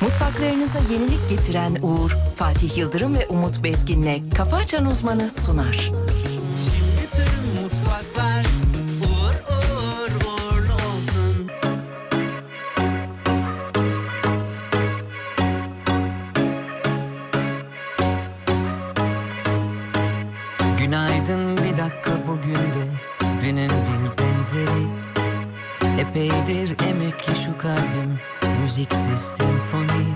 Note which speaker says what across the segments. Speaker 1: Mutfaklarınıza yenilik getiren Uğur, Fatih Yıldırım ve Umut Bezgin'le Kafa Açan Uzmanı sunar.
Speaker 2: Bütün mutfaklar uğur uğur uğurlu olsun. Günaydın bir dakika bugün de dünün bir benzeri. Epeydir emekli şu kalbim müziksiz senfoni.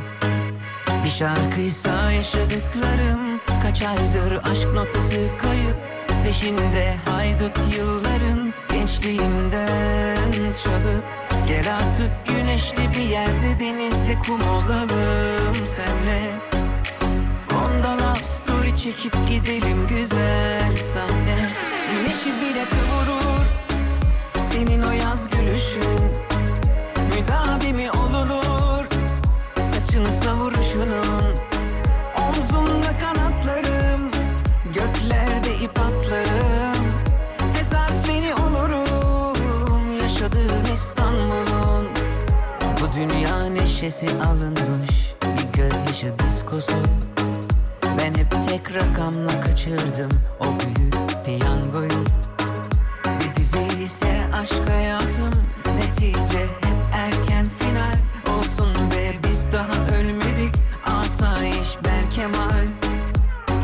Speaker 2: Bir şarkıysa yaşadıklarım Kaç aydır aşk notası kayıp Peşinde haydut yılların Gençliğimden çalıp Gel artık güneşli bir yerde Denizli kum olalım senle Fonda love story çekip gidelim güzel sahne Güneşi bile kıvırır Senin o yaz gülüşün Müdavimi olunur Saçını savuruşunun Omzumda kanatlarım Göklerde ip atlarım Hezarfeni olurum Yaşadığım İstanbul'un Bu dünya neşesi alınmış Bir gözyaşı diskosu Ben hep tek rakamla kaçırdım O büyük piyangoyu bir dizi ise aşk hayatım Netice hep erken final Olsun be biz daha ölmedik Asayiş Berkemal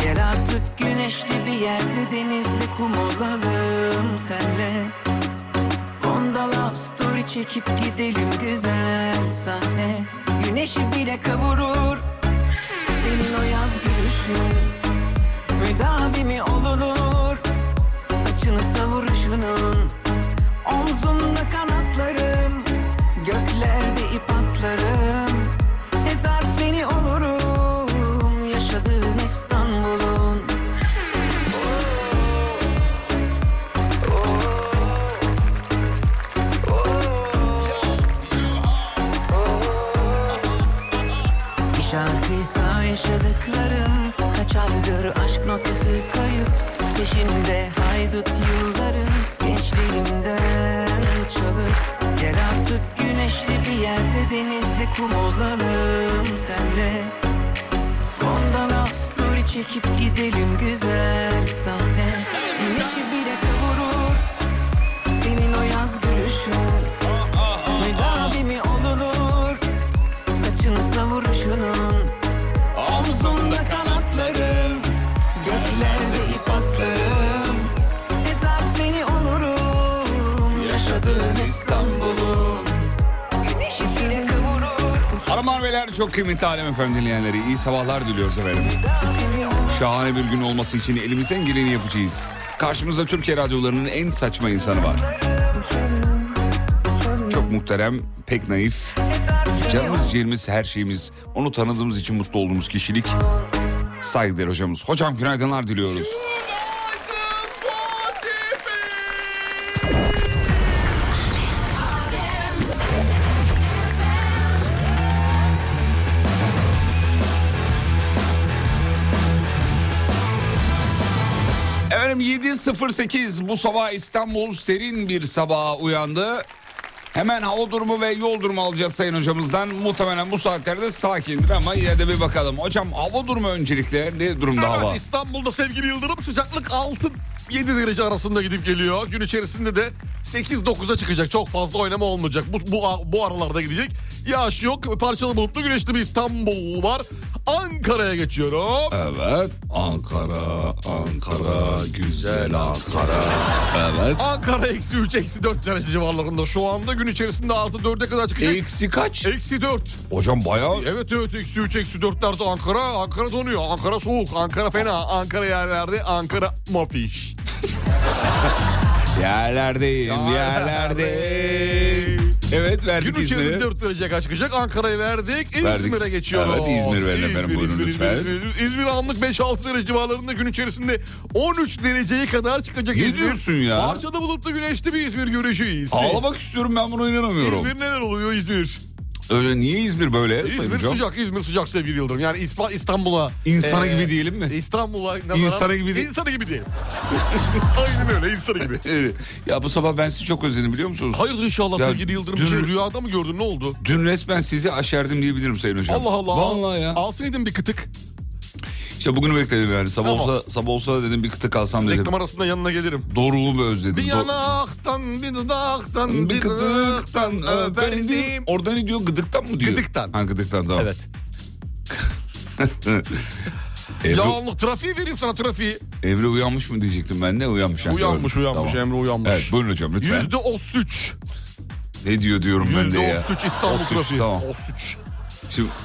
Speaker 2: Gel artık güneşli bir yerde Denizli kum olalım senle Fonda love story çekip gidelim güzel sahne Güneşi bile kavurur Senin o yaz gülüşün Müdavimi olunur Saçını savuruşunun Omzumda kanatlarım Göklerde ip atlarım Ezar seni olurum Yaşadığım İstanbul'un Bir şarkıysa yaşadıklarım Kaç aydır aşk notası kayıp Peşinde haydut yılların Gençliğimden çalıp Gel artık güneşli bir yerde Denizli kum olalım senle Fonda love story çekip gidelim güzel sahne Güneşi bile kavurur Senin o yaz gülüşün Müdavimi olunur Saçını savuruşunun Omzumda kanatlarım Göklerde ip atlarım Ezar seni olurum Yaşadığın İstanbul'un Güneşi bile kavurur
Speaker 3: Hanımlar beyler çok kıymetli Alem Efendim dinleyenleri iyi sabahlar diliyoruz efendim. Şahane bir gün olması için elimizden geleni yapacağız. Karşımızda Türkiye radyolarının en saçma insanı var. Çok muhterem, pek naif, canımız ciğerimiz her şeyimiz. Onu tanıdığımız için mutlu olduğumuz kişilik. Saygıdeğer hocamız. Hocam günaydınlar diliyoruz. Efendim 7.08 bu sabah İstanbul serin bir sabaha uyandı. Hemen hava durumu ve yol durumu alacağız sayın hocamızdan. Muhtemelen bu saatlerde sakindir ama yine de bir bakalım. Hocam hava durumu öncelikle ne durumda
Speaker 4: Evet,
Speaker 3: hava?
Speaker 4: İstanbul'da sevgili Yıldırım sıcaklık 6 7 derece arasında gidip geliyor. Gün içerisinde de 8-9'a çıkacak. Çok fazla oynama olmayacak. Bu, bu, bu aralarda gidecek. Yağış yok. Parçalı bulutlu güneşli bir İstanbul var. Ankara'ya geçiyorum.
Speaker 3: Evet. Ankara, Ankara, güzel Ankara. Evet.
Speaker 4: Ankara eksi 3, eksi 4 derece civarlarında şu anda. Gün içerisinde artı 4'e kadar çıkacak.
Speaker 3: Eksi kaç?
Speaker 4: Eksi 4.
Speaker 3: Hocam bayağı
Speaker 4: Evet evet eksi 3 eksi 4'lerde Ankara. Ankara donuyor. Ankara soğuk. Ankara fena. Ankara yerlerde Ankara mafiş.
Speaker 3: yerlerdeyim, yerlerdeyim. Evet verdik
Speaker 4: Gün
Speaker 3: izni.
Speaker 4: içerisinde 4 derece kaç çıkacak? Ankara'yı verdik.
Speaker 3: Verdik.
Speaker 4: İzmir'e geçiyoruz.
Speaker 3: Evet, İzmir verin efendim, buyurun lütfen.
Speaker 4: İzmir, İzmir, İzmir anlık 5-6 derece civarlarında gün içerisinde 13 dereceye kadar çıkacak.
Speaker 3: Ne
Speaker 4: İzmir.
Speaker 3: diyorsun ya?
Speaker 4: Parçalı bulutlu güneşli bir İzmir görüşüyüz.
Speaker 3: Ağlamak istiyorum ben buna inanamıyorum.
Speaker 4: İzmir neler oluyor İzmir?
Speaker 3: Öyle niye İzmir böyle? Sayın
Speaker 4: İzmir
Speaker 3: Hocam?
Speaker 4: sıcak, İzmir sıcak sevgili Yıldırım. Yani İspa- İstanbul'a...
Speaker 3: İnsanı
Speaker 4: e,
Speaker 3: gibi diyelim mi?
Speaker 4: İstanbul'a...
Speaker 3: İnsanı gibi değil-
Speaker 4: İnsanı gibi diyelim. Aynen öyle, insanı gibi.
Speaker 3: Evet. Ee, Ya bu sabah ben sizi çok özledim biliyor musunuz?
Speaker 4: Hayırdır inşallah
Speaker 3: Ya
Speaker 4: sevgili Yıldırım?
Speaker 3: dün-
Speaker 4: Bir şey rüyada mı gördün, ne oldu?
Speaker 3: Dün resmen sizi aşerdim diyebilirim Sayın Hocam.
Speaker 4: Allah Allah.
Speaker 3: Vallahi ya.
Speaker 4: Alsaydın bir kıtık.
Speaker 3: İşte bugünü bekledim yani. Sabah
Speaker 4: Tamam.
Speaker 3: olsa sabah olsa dedim bir kıtık alsam dedim.
Speaker 4: Reklam arasında yanına gelirim.
Speaker 3: Doğruluğumu özledim.
Speaker 4: Bir
Speaker 3: Do-
Speaker 4: yanaktan, bir
Speaker 3: bir
Speaker 4: dudaktan, bir
Speaker 3: gıdıktan
Speaker 4: gıdıktan
Speaker 3: öperdim.
Speaker 4: öperdim.
Speaker 3: Orada ne diyor gıdıktan mı diyor?
Speaker 4: Gıdıktan.
Speaker 3: Ha gıdıktan tamam.
Speaker 4: Evet.
Speaker 3: Evre,
Speaker 4: Ya Allah trafiği vereyim sana trafiği.
Speaker 3: Evre uyanmış mı diyecektim ben de uyanmış. yani.
Speaker 4: Uyanmış
Speaker 3: Doğru.
Speaker 4: uyanmış
Speaker 3: Tamam.
Speaker 4: Emre uyanmış.
Speaker 3: Evet buyurun hocam lütfen.
Speaker 4: Yüzde o suç.
Speaker 3: Ne diyor diyorum ben de
Speaker 4: Yüzde
Speaker 3: ya.
Speaker 4: o suç İstanbul
Speaker 3: Osuç,
Speaker 4: trafiği.
Speaker 3: tamam.
Speaker 4: O suç.
Speaker 3: Şimdi...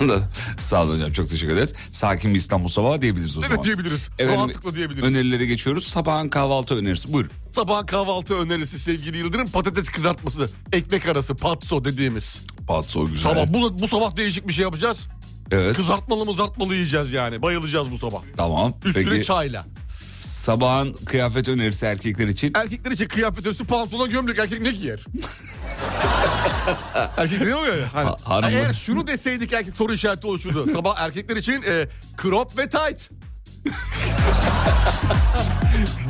Speaker 3: Anladım. Sağ olun hocam çok teşekkür ederiz. Sakin bir İstanbul sabahı diyebiliriz o
Speaker 4: Evet
Speaker 3: zaman.
Speaker 4: diyebiliriz.
Speaker 3: Efendim,
Speaker 4: Rahatlıkla diyebiliriz.
Speaker 3: Önerilere geçiyoruz. Sabahın kahvaltı önerisi. Buyur.
Speaker 4: Sabah kahvaltı önerisi sevgili Yıldırım patates kızartması. Ekmek arası patso dediğimiz.
Speaker 3: Patso güzel.
Speaker 4: Sabah bu, bu sabah değişik bir şey yapacağız.
Speaker 3: Evet.
Speaker 4: Kızartmalı mızartmalı yiyeceğiz yani. Bayılacağız bu sabah.
Speaker 3: Tamam.
Speaker 4: Üstüne
Speaker 3: Peki
Speaker 4: çayla.
Speaker 3: sabahın kıyafet önerisi erkekler için.
Speaker 4: Erkekler için kıyafet üstü pantolon gömlek erkek ne giyer? erkek ne oluyor ya? Hani,
Speaker 3: Ha- hanımlar-
Speaker 4: eğer şunu deseydik erkek soru işareti oluşurdu. Sabah erkekler için e, crop ve tight. E-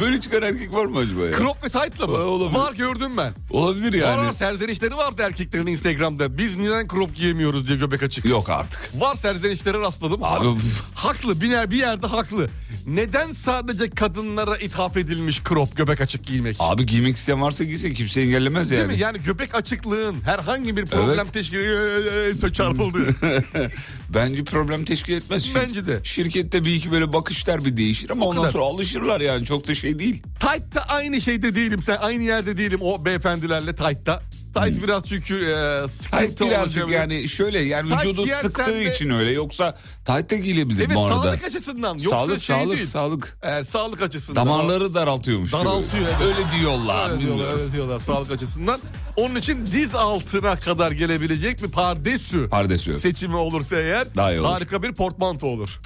Speaker 3: Böyle çıkan erkek var mı acaba ya?
Speaker 4: Crop ve tight'la mı?
Speaker 3: Ee, olabilir.
Speaker 4: Var gördüm ben.
Speaker 3: Olabilir
Speaker 4: Var
Speaker 3: yani.
Speaker 4: var serzenişleri vardı erkeklerin Instagram'da. Biz neden crop giyemiyoruz diye göbek açık.
Speaker 3: Yok artık.
Speaker 4: Var serzenişlere rastladım.
Speaker 3: Abi-
Speaker 4: Ha- haklı biner bir yerde haklı. Neden sadece kadınlara ithaf edilmiş crop göbek açık giymek?
Speaker 3: Abi giymek isteyen varsa giysin kimse engellemez yani.
Speaker 4: Değil mi? Yani göbek açıklığın herhangi bir problem
Speaker 3: Evet.
Speaker 4: teşkil Ee, çarpıldı.
Speaker 3: Bence problem teşkil etmez. Şir-
Speaker 4: Bence de.
Speaker 3: Şirkette bir iki böyle bakışlar bir değişir ama
Speaker 4: O
Speaker 3: ondan
Speaker 4: kadar.
Speaker 3: sonra alışırlar yani çok da şey değil.
Speaker 4: Tight da aynı şeyde değilim. Sen aynı yerde değilim o beyefendilerle tight da. Tight biraz çünkü e, sıkıntı
Speaker 3: Tayt Hmm. birazcık
Speaker 4: oluşabilir.
Speaker 3: yani şöyle yani
Speaker 4: Tayt
Speaker 3: vücudu
Speaker 4: giyersen
Speaker 3: sıktığı
Speaker 4: de-
Speaker 3: için öyle yoksa tayt da giyilebilir
Speaker 4: Evet
Speaker 3: bu arada.
Speaker 4: sağlık açısından. Yoksa
Speaker 3: sağlık
Speaker 4: şey
Speaker 3: sağlık
Speaker 4: değil.
Speaker 3: sağlık.
Speaker 4: E, sağlık açısından.
Speaker 3: Damarları daraltıyormuş.
Speaker 4: Daraltıyor, evet.
Speaker 3: Öyle diyorlar.
Speaker 4: Öyle diyorlar,
Speaker 3: bilmiyorum.
Speaker 4: öyle diyorlar sağlık açısından. Onun için diz altına kadar gelebilecek bir pardesü
Speaker 3: Pardesü.
Speaker 4: seçimi olursa eğer
Speaker 3: Daha iyi olur.
Speaker 4: harika bir portmanto olur.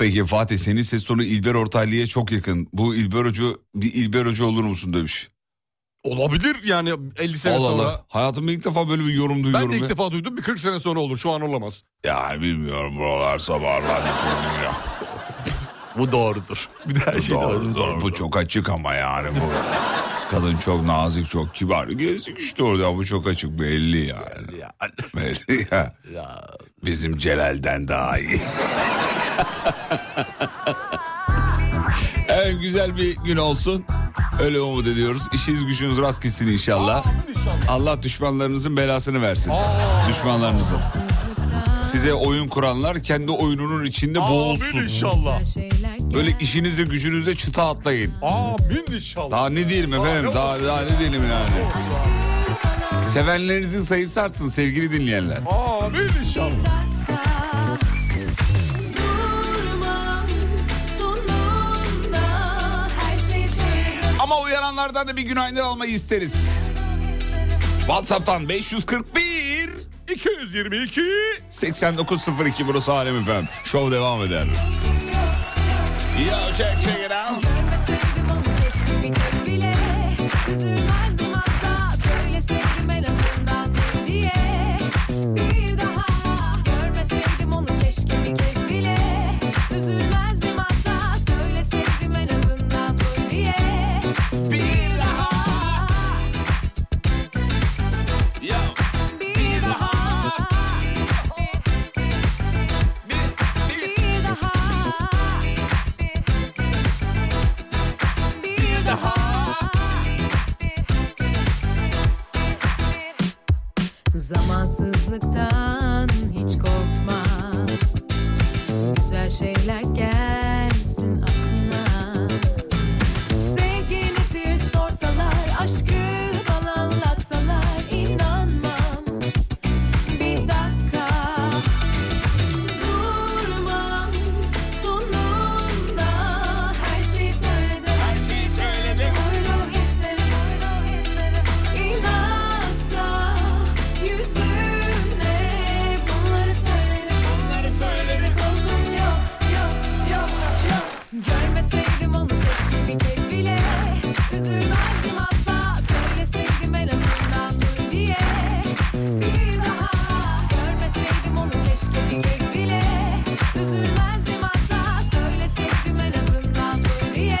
Speaker 3: Peki Fatih senin ses tonu İlber Ortaylı'ya çok yakın. Bu İlber Hoca bir İlber Hoca olur musun demiş.
Speaker 4: Olabilir yani 50 sene
Speaker 3: Allah
Speaker 4: sonra.
Speaker 3: Allah. Hayatımda ilk defa böyle bir yorum
Speaker 4: Ben
Speaker 3: duyuyorum.
Speaker 4: de ilk
Speaker 3: ya.
Speaker 4: defa duydum bir 40 sene sonra olur şu an olamaz.
Speaker 3: Ya bilmiyorum buralar sabahlar. ya.
Speaker 4: Bu doğrudur. Bir de her şey
Speaker 3: doğru, doğru. Bu çok açık ama yani bu. Kadın çok nazik, çok kibar. Gezik işte orada bu çok açık belli yani. Belli ya. Bizim Celal'den daha iyi. evet güzel bir gün olsun. Öyle umut ediyoruz. İşiniz gücünüz rast gitsin inşallah. Allah düşmanlarınızın belasını versin. Düşmanlarınızın. Size oyun kuranlar kendi oyununun içinde
Speaker 4: Amin
Speaker 3: boğulsun.
Speaker 4: inşallah.
Speaker 3: Böyle işinize gücünüze çıta atlayın.
Speaker 4: Amin inşallah.
Speaker 3: Daha ne diyelim efendim? Daha, daha ne diyelim yani? Sevenlerinizin sayısı artsın sevgili dinleyenler.
Speaker 4: Amin inşallah.
Speaker 5: Durmam sonunda her şey senin
Speaker 3: Ama uyaranlardan da bir günaydın almayı isteriz. WhatsApp'tan 541
Speaker 4: 222
Speaker 3: 8902 burası Alem efendim. Şov devam eder. Yo, check, check it out.
Speaker 5: Görmeseydim onu keşke bir kez bile Üzülmezdim asla Söyleseydim en azından bunu diye Bir daha Görmeseydim onu keşke bir kez bile Üzülmezdim asla Söyleseydim en azından bunu diye Bir daha Bir daha Bir daha bir daha Zamansızlıktan hiç korkma Güzel şeyler gelsin aklına Sevgi nedir sorsalar Aşkı bana anlatsalar inanmam Bir dakika Durmam sonunda her şeyi söyledim Her şeyi söyledim Oylu hislerim İnansa yüzüne bunları söylerim Bunları söylerim Korkum yok yok yok yok Görmeseydim onu keşke bir kez bile Üzülmezdim asla bir kez bile Üzülmezdim asla Söyleseydim en azından dur diye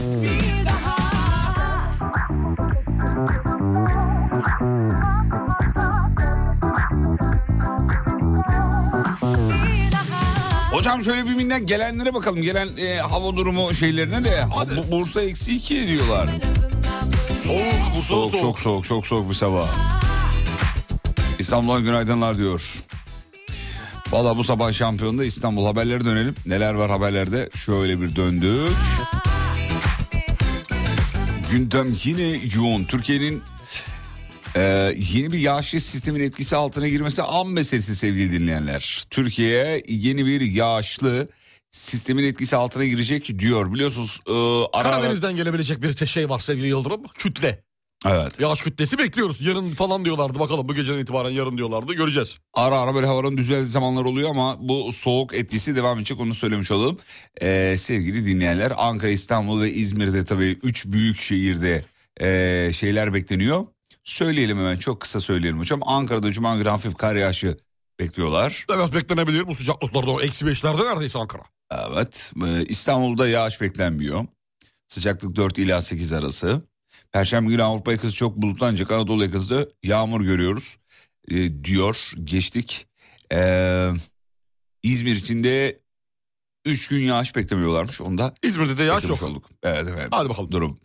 Speaker 5: Bir daha Bir daha
Speaker 3: Hocam şöyle bir binden gelenlere bakalım. Gelen e, hava durumu şeylerine de. Bu- Bursa eksi 2 diyorlar.
Speaker 5: En azından dur diye
Speaker 4: Soğuk bu
Speaker 3: Soğuk,
Speaker 4: soğuk. soğuk.
Speaker 3: çok soğuk, çok soğuk bir sabah. İstanbul'a günaydınlar diyor. Valla bu sabah şampiyonda İstanbul haberlere dönelim. Neler var haberlerde? Şöyle bir döndük. Gündem yine yoğun. Türkiye'nin e, yeni bir yağış sistemin etkisi altına girmesi an meselesi sevgili dinleyenler. Türkiye yeni bir yağışlı sistemin etkisi altına girecek diyor. Biliyorsunuz e, ara ara-
Speaker 4: Karadeniz'den gelebilecek bir te- şey var sevgili Yıldırım. Kütle.
Speaker 3: Evet.
Speaker 4: Yağış kütlesi bekliyoruz. Yarın falan diyorlardı. Bakalım bu geceden itibaren yarın diyorlardı. Göreceğiz.
Speaker 3: Ara ara böyle havanın düzeldiği zamanlar oluyor ama bu soğuk etkisi devam edecek onu söylemiş olalım. Ee, sevgili dinleyenler Ankara, İstanbul ve İzmir'de tabii üç büyük şehirde ee, şeyler bekleniyor. Söyleyelim hemen çok kısa söyleyelim hocam. Ankara'da Cuma günü hafif kar yağışı bekliyorlar.
Speaker 4: Evet beklenebilir bu sıcaklıklarda. O eksi beşlerde neredeyse Ankara.
Speaker 3: Evet ee, İstanbul'da yağış beklenmiyor. Sıcaklık 4 ila 8 arası. Perşembe günü Avrupa yakası çok bulutlu ancak Anadolu yakasında yağmur görüyoruz e, diyor. Geçtik. Ee, İzmir için de 3 gün yağış beklemiyorlarmış. Onu da
Speaker 4: İzmir'de de yağış yok.
Speaker 3: beklemiş olduk. Evet efendim.
Speaker 4: Hadi bakalım.
Speaker 3: Durum.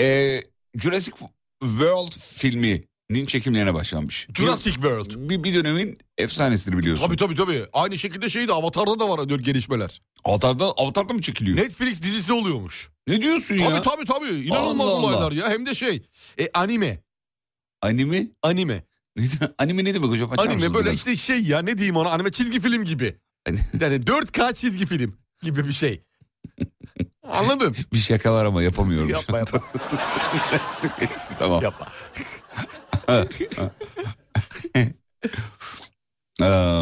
Speaker 3: Ee, Jurassic World filminin çekimlerine başlanmış.
Speaker 4: Jurassic World.
Speaker 3: Bir, bir dönemin efsanesidir biliyorsun.
Speaker 4: Tabii tabii tabii. Aynı şekilde şey de Avatar'da da var diyor gelişmeler.
Speaker 3: Avatar'da, Avatar'da mı çekiliyor? Ne,
Speaker 4: Netflix dizisi oluyormuş.
Speaker 3: diyorsun
Speaker 4: Tabii
Speaker 3: ya?
Speaker 4: tabii tabii. İnanılmaz
Speaker 3: Allah Allah.
Speaker 4: olaylar ya. Hem de şey e, anime.
Speaker 3: Anime?
Speaker 4: Anime.
Speaker 3: Anime ne demek hocam? Açar
Speaker 4: anime
Speaker 3: mısınız
Speaker 4: böyle
Speaker 3: biraz? Hani-
Speaker 4: işte şey ya ne diyeyim ona anime çizgi film gibi. Yani 4K çizgi film gibi bir şey. Anladın?
Speaker 3: Bir şaka var ama yapamıyorum. şu
Speaker 4: yapma yapma
Speaker 3: tamam.
Speaker 4: yapma.
Speaker 3: Ee,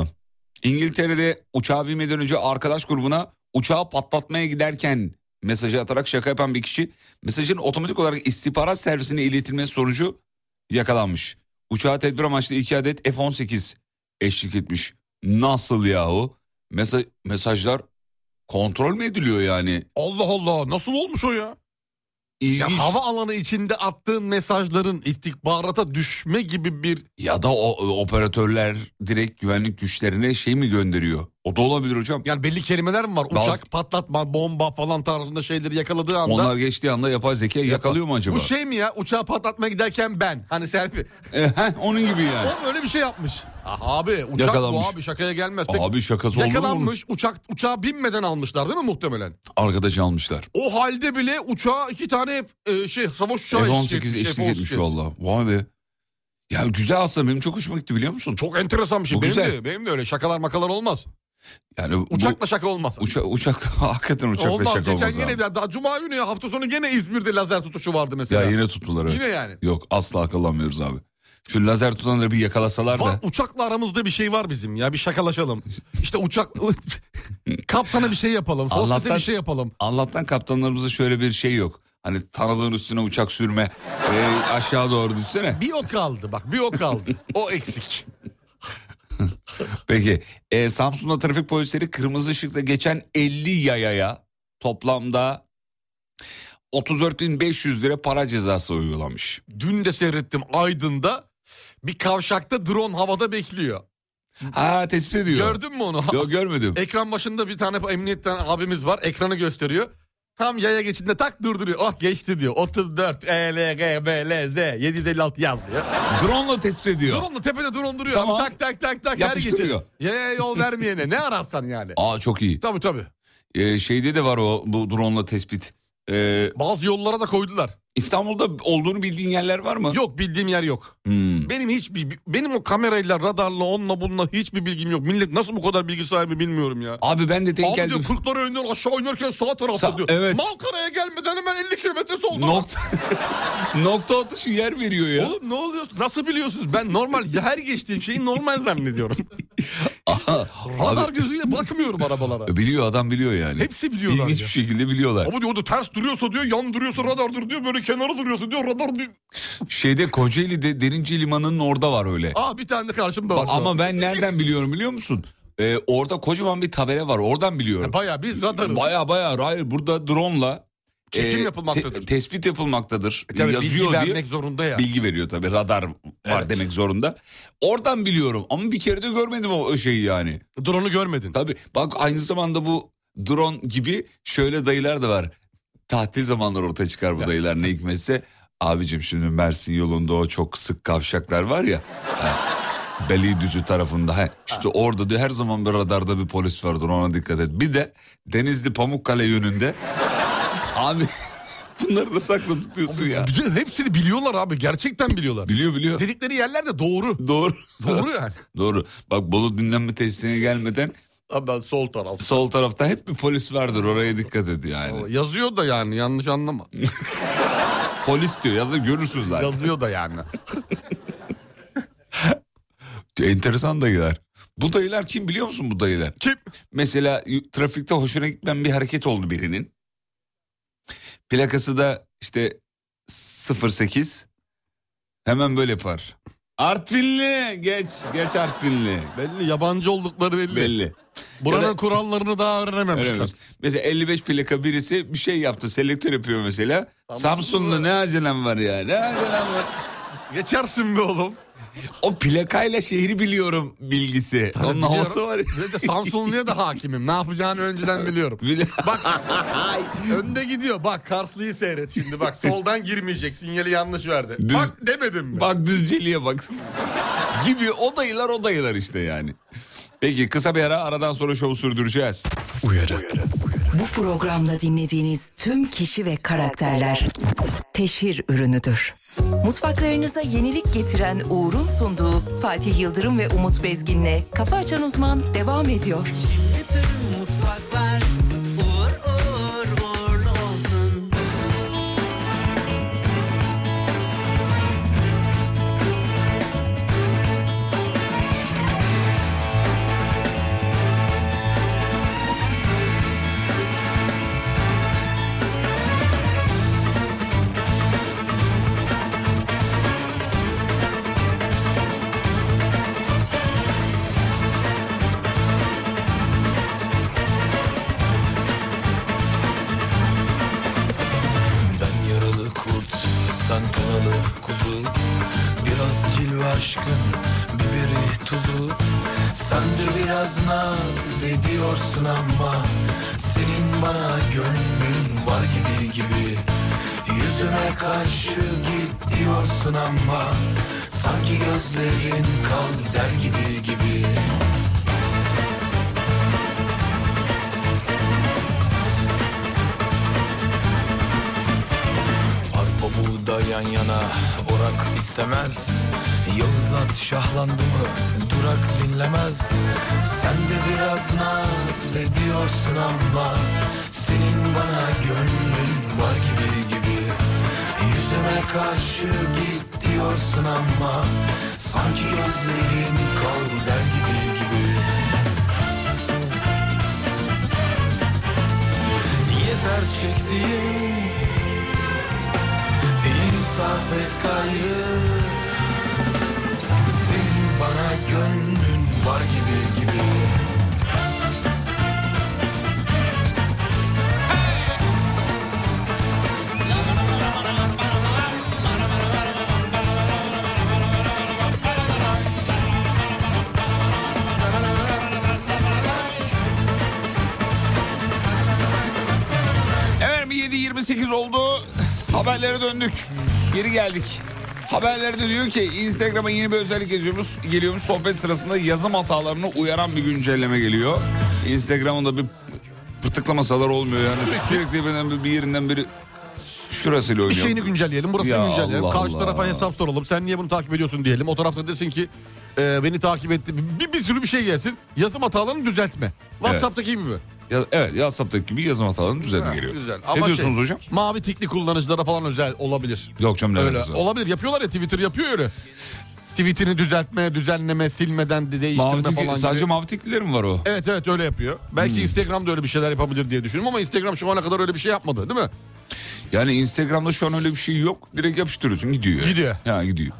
Speaker 3: İngiltere'de uçağa binmeden önce arkadaş grubuna uçağı patlatmaya giderken mesajı atarak şaka yapan bir kişi mesajın otomatik olarak istihbarat servisine iletilmesi sonucu yakalanmış. Uçağa tedbir amaçlı iki adet F-18 eşlik etmiş. Nasıl yahu? Mesa- mesajlar kontrol mü ediliyor yani?
Speaker 4: Allah Allah nasıl olmuş o ya?
Speaker 3: İlginç.
Speaker 4: ya
Speaker 3: Ya,
Speaker 4: hava alanı içinde attığın mesajların istihbarata düşme gibi bir
Speaker 3: da o, o operatörler direkt güvenlik güçlerine şey mi gönderiyor? O da olabilir hocam.
Speaker 4: yani belli kelimeler mi var? Uçak,
Speaker 3: Bazı-
Speaker 4: patlatma, bomba falan tarzında şeyleri yakaladığı anda
Speaker 3: Onlar geçtiği anda yapay zeka yakalıyor mu acaba?
Speaker 4: bu şey mi ya uçağı patlatmaya giderken ben hani selfie.
Speaker 3: E, heh, onun gibi yani.
Speaker 4: O böyle bir şey yapmış. Ah abi uçak
Speaker 3: Yakalanmış.
Speaker 4: bu abi şakaya gelmez. Peki,
Speaker 3: Abi şakası olur mu? bunun?
Speaker 4: yakalanmış uçak uçağa binmeden almışlar değil mi muhtemelen?
Speaker 3: Arkadaşı almışlar.
Speaker 4: O halde bile uçağa iki tane e, şey savaş uçağı
Speaker 3: F-18 eşlik
Speaker 4: F-18.
Speaker 3: etmiş valla. Vay be. Ya güzel aslında benim çok hoşuma gitti biliyor musun?
Speaker 4: Çok enteresan bir şey.
Speaker 3: Bu
Speaker 4: benim
Speaker 3: güzel.
Speaker 4: de benim de öyle şakalar makalar olmaz.
Speaker 3: Yani bu-
Speaker 4: Uçakla şaka olmaz.
Speaker 3: uça, uçakla hakikaten uçakla
Speaker 4: olmaz.
Speaker 3: şaka
Speaker 4: Geçen
Speaker 3: olmaz.
Speaker 4: gene
Speaker 3: abi.
Speaker 4: bir- daha cuma günü ya hafta sonu gene İzmir'de lazer tutuşu vardı mesela.
Speaker 3: Ya yine tuttular evet.
Speaker 4: Yine yani.
Speaker 3: Yok asla akıllanmıyoruz abi. Şu lazer tutanları bir yakalasalar
Speaker 4: Va-
Speaker 3: da.
Speaker 4: uçakla aramızda bir şey var bizim ya bir şakalaşalım. İşte uçak kaptana bir şey yapalım. Hostese
Speaker 3: Allah'tan-
Speaker 4: bir şey yapalım.
Speaker 3: Allah'tan kaptanlarımızda şöyle bir şey yok. Hani tanıdığın üstüne uçak sürme. e, aşağı doğru düşsene.
Speaker 4: Bir o kaldı bak bir o kaldı. o eksik.
Speaker 3: Peki. Ee, Samsun'da trafik polisleri kırmızı ışıkta geçen 50 yayaya toplamda 34.500 lira para cezası uygulamış.
Speaker 4: Dün de seyrettim Aydın'da bir kavşakta drone havada bekliyor.
Speaker 3: Ha tespit ediyor.
Speaker 4: Gördün mü onu?
Speaker 3: Yok görmedim.
Speaker 4: Ekran başında bir tane emniyetten abimiz var. Ekranı gösteriyor. Tam yaya geçidinde tak durduruyor. Ah geçti diyor. E, 34 ELGBLZ 756 yaz diyor.
Speaker 3: Drone'la tespit ediyor.
Speaker 4: Drone'la tepede drone duruyor.
Speaker 3: Tamam.
Speaker 4: Tak tak tak tak her geçit.
Speaker 3: Yapıştırıyor.
Speaker 4: Yaya yol vermeyene ne ararsan yani.
Speaker 3: Aa çok iyi.
Speaker 4: Tabii tabii.
Speaker 3: Ee, şeyde de var o bu drone'la tespit. Ee,
Speaker 4: Bazı yollara da koydular.
Speaker 3: İstanbul'da olduğunu bildiğin yerler var mı?
Speaker 4: Yok bildiğim yer yok.
Speaker 3: Hmm.
Speaker 4: Benim hiçbir benim o kamerayla, radarla, onunla bununla hiçbir bilgim yok. Millet nasıl bu kadar bilgi sahibi bilmiyorum ya.
Speaker 3: Abi ben de denk
Speaker 4: Abi
Speaker 3: geldim.
Speaker 4: diyor kırklara önden aşağı oynarken sağ tarafta
Speaker 3: Sa-
Speaker 4: diyor.
Speaker 3: evet.
Speaker 4: Malkara'ya gelmeden hemen 50 kilometre solda.
Speaker 3: Nokta, nokta atışı yer veriyor ya.
Speaker 4: Oğlum ne oluyor? Nasıl biliyorsunuz? Ben normal her geçtiğim şeyi normal zannediyorum.
Speaker 3: Aha,
Speaker 4: Radar
Speaker 3: abi,
Speaker 4: gözüyle bakmıyorum arabalara.
Speaker 3: biliyor adam biliyor yani.
Speaker 4: Hepsi biliyorlar
Speaker 3: İlginç bir
Speaker 4: ya.
Speaker 3: şekilde biliyorlar.
Speaker 4: Ama diyor o da ters duruyorsa diyor yan duruyorsa radardır diyor böyle kenara duruyorsa diyor radar diyor.
Speaker 3: Şeyde Kocaeli'de Derince Limanı'nın orada var öyle.
Speaker 4: Aa bir Ah, tane de karşımda var. şu an.
Speaker 3: Ama ben nereden biliyorum biliyor musun? Ee, orada kocaman bir tabela var. Oradan biliyorum.
Speaker 4: Baya biz radarız.
Speaker 3: Baya baya hayır burada drone'la
Speaker 4: Çekim
Speaker 3: e,
Speaker 4: yapılmaktadır.
Speaker 3: te- tespit yapılmaktadır.
Speaker 4: E tabii
Speaker 3: Yazıyor
Speaker 4: bilgi vermek
Speaker 3: diye
Speaker 4: zorunda ya.
Speaker 3: bilgi veriyor tabii. Radar var
Speaker 4: Evet.
Speaker 3: demek zorunda. Oradan biliyorum ama bir kere de görmedim o, o şeyi yani.
Speaker 4: Drone'u görmedin.
Speaker 3: Tabii bak aynı zamanda bu drone gibi şöyle dayılar da var. Tatil zamanları ortaya çıkar bu dayılar ne hikmetse. Abicim şimdi Mersin yolunda o çok sık kavşaklar var ya. ha, Beliğidüzü tarafında. Ha, işte orada diyor her zaman bir radarda bir polis vardır ona dikkat et. Bir de Denizli Pamukkale yönünde. abi bunları da saklı tutuyorsun ya.
Speaker 4: Bir de hepsini biliyorlar abi. Gerçekten biliyorlar.
Speaker 3: Biliyor biliyor.
Speaker 4: Dedikleri yerler de doğru.
Speaker 3: Doğru.
Speaker 4: Doğru yani.
Speaker 3: Doğru. Bak Bolu dinlenme tesisine gelmeden
Speaker 4: Abi ben sol taraf.
Speaker 3: sol tarafta hep bir polis vardır oraya dikkat et yani.
Speaker 4: Yazıyor da yani yanlış anlama.
Speaker 3: Polis diyor yazı görürsün zaten.
Speaker 4: Yazıyor da yani.
Speaker 3: Enteresan dayılar. Bu dayılar kim biliyor musun bu dayılar?
Speaker 4: Kim?
Speaker 3: Mesela y- trafikte hoşuna gitmeyen bir hareket oldu birinin. Plakası da işte 08 hemen böyle yapar. Artvinli geç geç Artvinli
Speaker 4: Belli yabancı oldukları belli.
Speaker 3: belli.
Speaker 4: Buranın
Speaker 3: Ya da-
Speaker 4: kurallarını daha öğrenememişler.
Speaker 3: Öyle mi? Mesela 55 plaka birisi bir şey yaptı selektör yapıyor mesela.
Speaker 4: Samsunlu.
Speaker 3: Samsunlu ne acelem var ya ne acelem var.
Speaker 4: Geçersin be oğlum.
Speaker 3: O plakayla şehri biliyorum bilgisi. Onun
Speaker 4: Biliyorum.
Speaker 3: havası var ya.
Speaker 4: Ve de Samsunlu'ya da hakimim. Ne yapacağını önceden biliyorum.
Speaker 3: Bile-
Speaker 4: Bak önde gidiyor. Bak Karslı'yı seyret şimdi. Bak soldan girmeyecek. Sinyali yanlış verdi.
Speaker 3: Düz-
Speaker 4: Bak demedim mi?
Speaker 3: Bak düzceliğe bak. Gibi odayılar odayılar işte yani. Peki kısa bir ara aradan sonra şovu sürdüreceğiz.
Speaker 1: Bu programda dinlediğiniz tüm kişi ve karakterler teşhir ürünüdür. Mutfaklarınıza yenilik getiren Uğur'un sunduğu Fatih Yıldırım ve Umut Bezgin'le Kafa Açan Uzman devam ediyor.
Speaker 2: Bütün mutfaklar uğur uğur uğurlu olsun.
Speaker 6: Ben yaralı kurt, sen kanalı kuzu Biraz cilve aşkın, biberi tuzu Sen de biraz naz ediyorsun ama Senin bana gönlün var gibi gibi Yüzüme karşı git diyorsun ama Sanki gözlerin kal der gibi gibi Arpa buğday yan yana orak istemez Yağız at şahlandı mı durak dinlemez Sen de biraz naz ediyorsun ama Senin bana gönlün var gibi gibi Yüzüme karşı git diyorsun ama Sanki gözlerin kal der gibi gibi Yeter çektiğim İnsaf et gayrı Senin bana gönlün var gibi gibi
Speaker 3: Efendim 7.28 oldu. Haberlere döndük. Geri geldik. Haberlerde diyor ki Instagram'a yeni bir özellik yazıyoruz. Geliyormuş sohbet sırasında yazım hatalarını uyaran bir güncelleme geliyor. Instagram'ın da bir pırtıklamasalar olmuyor yani. Sürekli bir, bir yerinden biri şurasıyla
Speaker 4: Bir
Speaker 3: oynuyor.
Speaker 4: şeyini güncelleyelim, burasını
Speaker 3: Ya
Speaker 4: güncelleyelim.
Speaker 3: Allah
Speaker 4: Karşı
Speaker 3: Allah.
Speaker 4: tarafa hesap soralım. Sen niye bunu takip ediyorsun diyelim. O tarafta desin ki e, beni takip etti. Bir, bir sürü bir şey gelsin. Yazım hatalarını düzeltme. WhatsApp'taki gibi.
Speaker 3: Ya- evet WhatsApp'taki gibi yazım hatalarının düzenine
Speaker 4: Ha,
Speaker 3: geliyor.
Speaker 4: Güzel.
Speaker 3: ne
Speaker 4: Ama
Speaker 3: diyorsunuz
Speaker 4: şey,
Speaker 3: hocam?
Speaker 4: Mavi tikli kullanıcılara falan özel olabilir.
Speaker 3: Yok canım ne
Speaker 4: Öyle
Speaker 3: alakası var?
Speaker 4: olabilir. Yapıyorlar ya Twitter yapıyor öyle. Tweetini düzeltme, düzenleme, silmeden de değiştirme
Speaker 3: Mavi tik-
Speaker 4: falan gibi.
Speaker 3: sadece Hmm. mavi tikliler mi var o?
Speaker 4: Evet evet öyle yapıyor. Belki Instagram'da öyle bir şeyler yapabilir diye düşünüyorum ama Instagram şu ana kadar öyle bir şey yapmadı değil mi?
Speaker 3: Yani Instagram'da şu an öyle bir şey yok. Direkt yapıştırıyorsun gidiyor.
Speaker 4: Gidiyor.
Speaker 3: Ya gidiyor.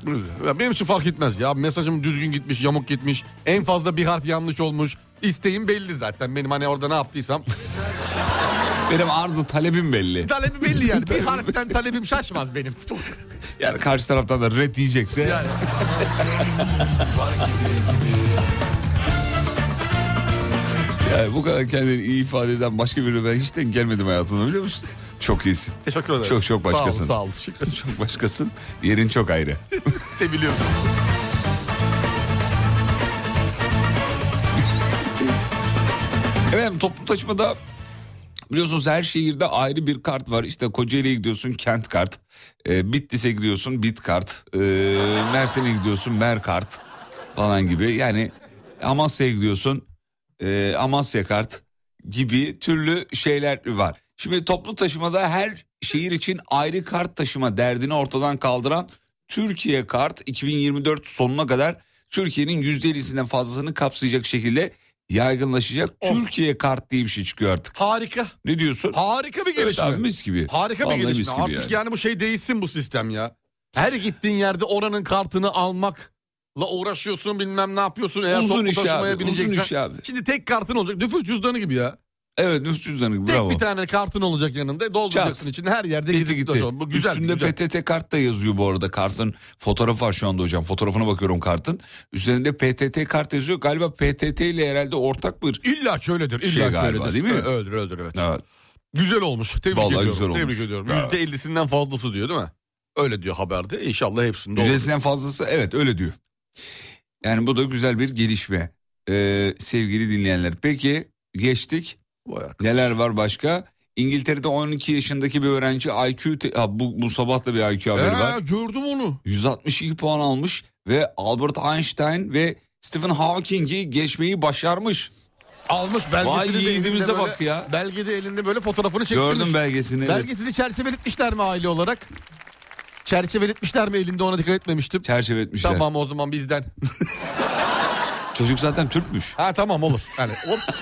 Speaker 4: Ya benim için fark etmez ya. Mesajım düzgün gitmiş, yamuk gitmiş. En fazla bir harf yanlış olmuş. İsteğim belli zaten benim hani orada ne yaptıysam.
Speaker 3: Benim arzu talebim belli.
Speaker 4: Talebim belli yani. Bir harften talebim şaşmaz benim.
Speaker 3: Yani karşı taraftan da red diyecekse.
Speaker 4: Yani.
Speaker 3: Yani bu kadar kendini iyi ifade eden başka biri ben hiç denk gelmedim hayatımda biliyor musun? Çok iyisin.
Speaker 4: Teşekkür ederim.
Speaker 3: Çok çok başkasın.
Speaker 4: Sağ olun sağ olun.
Speaker 3: Çok başkasın. Yerin çok ayrı.
Speaker 4: Seviliyorsun.
Speaker 3: Efendim toplu taşımada biliyorsunuz her şehirde ayrı bir kart var. İşte Kocaeli'ye gidiyorsun kent kart. Ee, Bitlis'e gidiyorsun bit kart. Ee, Mersin'e gidiyorsun mer kart falan gibi. Yani Amasya'ya gidiyorsun e, Amasya kart gibi türlü şeyler var. Şimdi toplu taşımada her şehir için ayrı kart taşıma derdini ortadan kaldıran Türkiye Kart 2024 sonuna kadar Türkiye'nin %50'sinden fazlasını kapsayacak şekilde yaygınlaşacak. Türkiye Kart diye bir şey çıkıyor artık.
Speaker 4: Harika.
Speaker 3: Ne diyorsun?
Speaker 4: Oh. Harika bir
Speaker 3: Evet
Speaker 4: gelişme.
Speaker 3: abi mis gibi.
Speaker 4: Harika bir
Speaker 3: Vallahi
Speaker 4: gelişme.
Speaker 3: mis gibi
Speaker 4: Artık
Speaker 3: yani.
Speaker 4: yani. bu şey değişsin bu sistem ya. Her gittiğin yerde oranın kartını almakla uğraşıyorsun bilmem ne yapıyorsun. Eğer
Speaker 3: Uzun
Speaker 4: toplu
Speaker 3: iş
Speaker 4: taşımaya
Speaker 3: abi,
Speaker 4: bineceksen.
Speaker 3: uzun iş abi.
Speaker 4: Şimdi tek kartın olacak. Nüfus cüzdanı gibi ya.
Speaker 3: Evet nüfus cüzdanı gibi,
Speaker 4: Tek
Speaker 3: bravo.
Speaker 4: bir tane kartın olacak yanında. Dolduracaksın
Speaker 3: Çat.
Speaker 4: içinde her yerde
Speaker 3: Gitti
Speaker 4: gidip
Speaker 3: gitti.
Speaker 4: dolaşıyorsun. Bu güzel.
Speaker 3: Üstünde
Speaker 4: güzel.
Speaker 3: PTT kart da yazıyor bu arada. Kartın fotoğrafı var şu anda hocam. Fotoğrafına bakıyorum kartın. Üzerinde PTT kart yazıyor. Galiba PTT ile herhalde ortak bir...
Speaker 4: İlla ki öyledir.
Speaker 3: Şey
Speaker 4: İlla ki
Speaker 3: galiba,
Speaker 4: öyledir.
Speaker 3: değil mi?
Speaker 4: Ö- Öyledir öyledir evet.
Speaker 3: Evet.
Speaker 4: Güzel olmuş. Tebrik
Speaker 3: Vallahi
Speaker 4: ediyorum.
Speaker 3: güzel olmuş.
Speaker 4: Tebrik ediyorum.
Speaker 3: Evet.
Speaker 4: %50'sinden fazlası diyor değil mi? Öyle diyor haberde. İnşallah hepsinde olur.
Speaker 3: Yüzdesinden fazlası evet öyle diyor. Yani bu da güzel bir gelişme. Ee, sevgili dinleyenler. Peki geçtik.
Speaker 4: Vay arkadaş.
Speaker 3: Neler var başka? İngiltere'de 12 yaşındaki bir öğrenci IQ te- ha, bu, bu sabah da bir IQ haberi var.
Speaker 4: Ee, gördüm onu.
Speaker 3: 162 puan almış ve Albert Einstein ve Stephen Hawking'i geçmeyi başarmış.
Speaker 4: Almış belgesini
Speaker 3: Vay
Speaker 4: de
Speaker 3: yiğidimize
Speaker 4: elinde
Speaker 3: bak
Speaker 4: böyle-
Speaker 3: ya.
Speaker 4: Belgede elinde böyle fotoğrafını çektirmiş.
Speaker 3: Gördüm belgesini. evet.
Speaker 4: Belgesini çerçeveletmişler mi aile olarak? Çerçeveletmişler mi elinde ona dikkat etmemiştim.
Speaker 3: Çerçeve etmişler.
Speaker 4: Tamam o zaman bizden.
Speaker 3: Çocuk zaten Türkmüş.
Speaker 4: Ha tamam olur. Yani hop.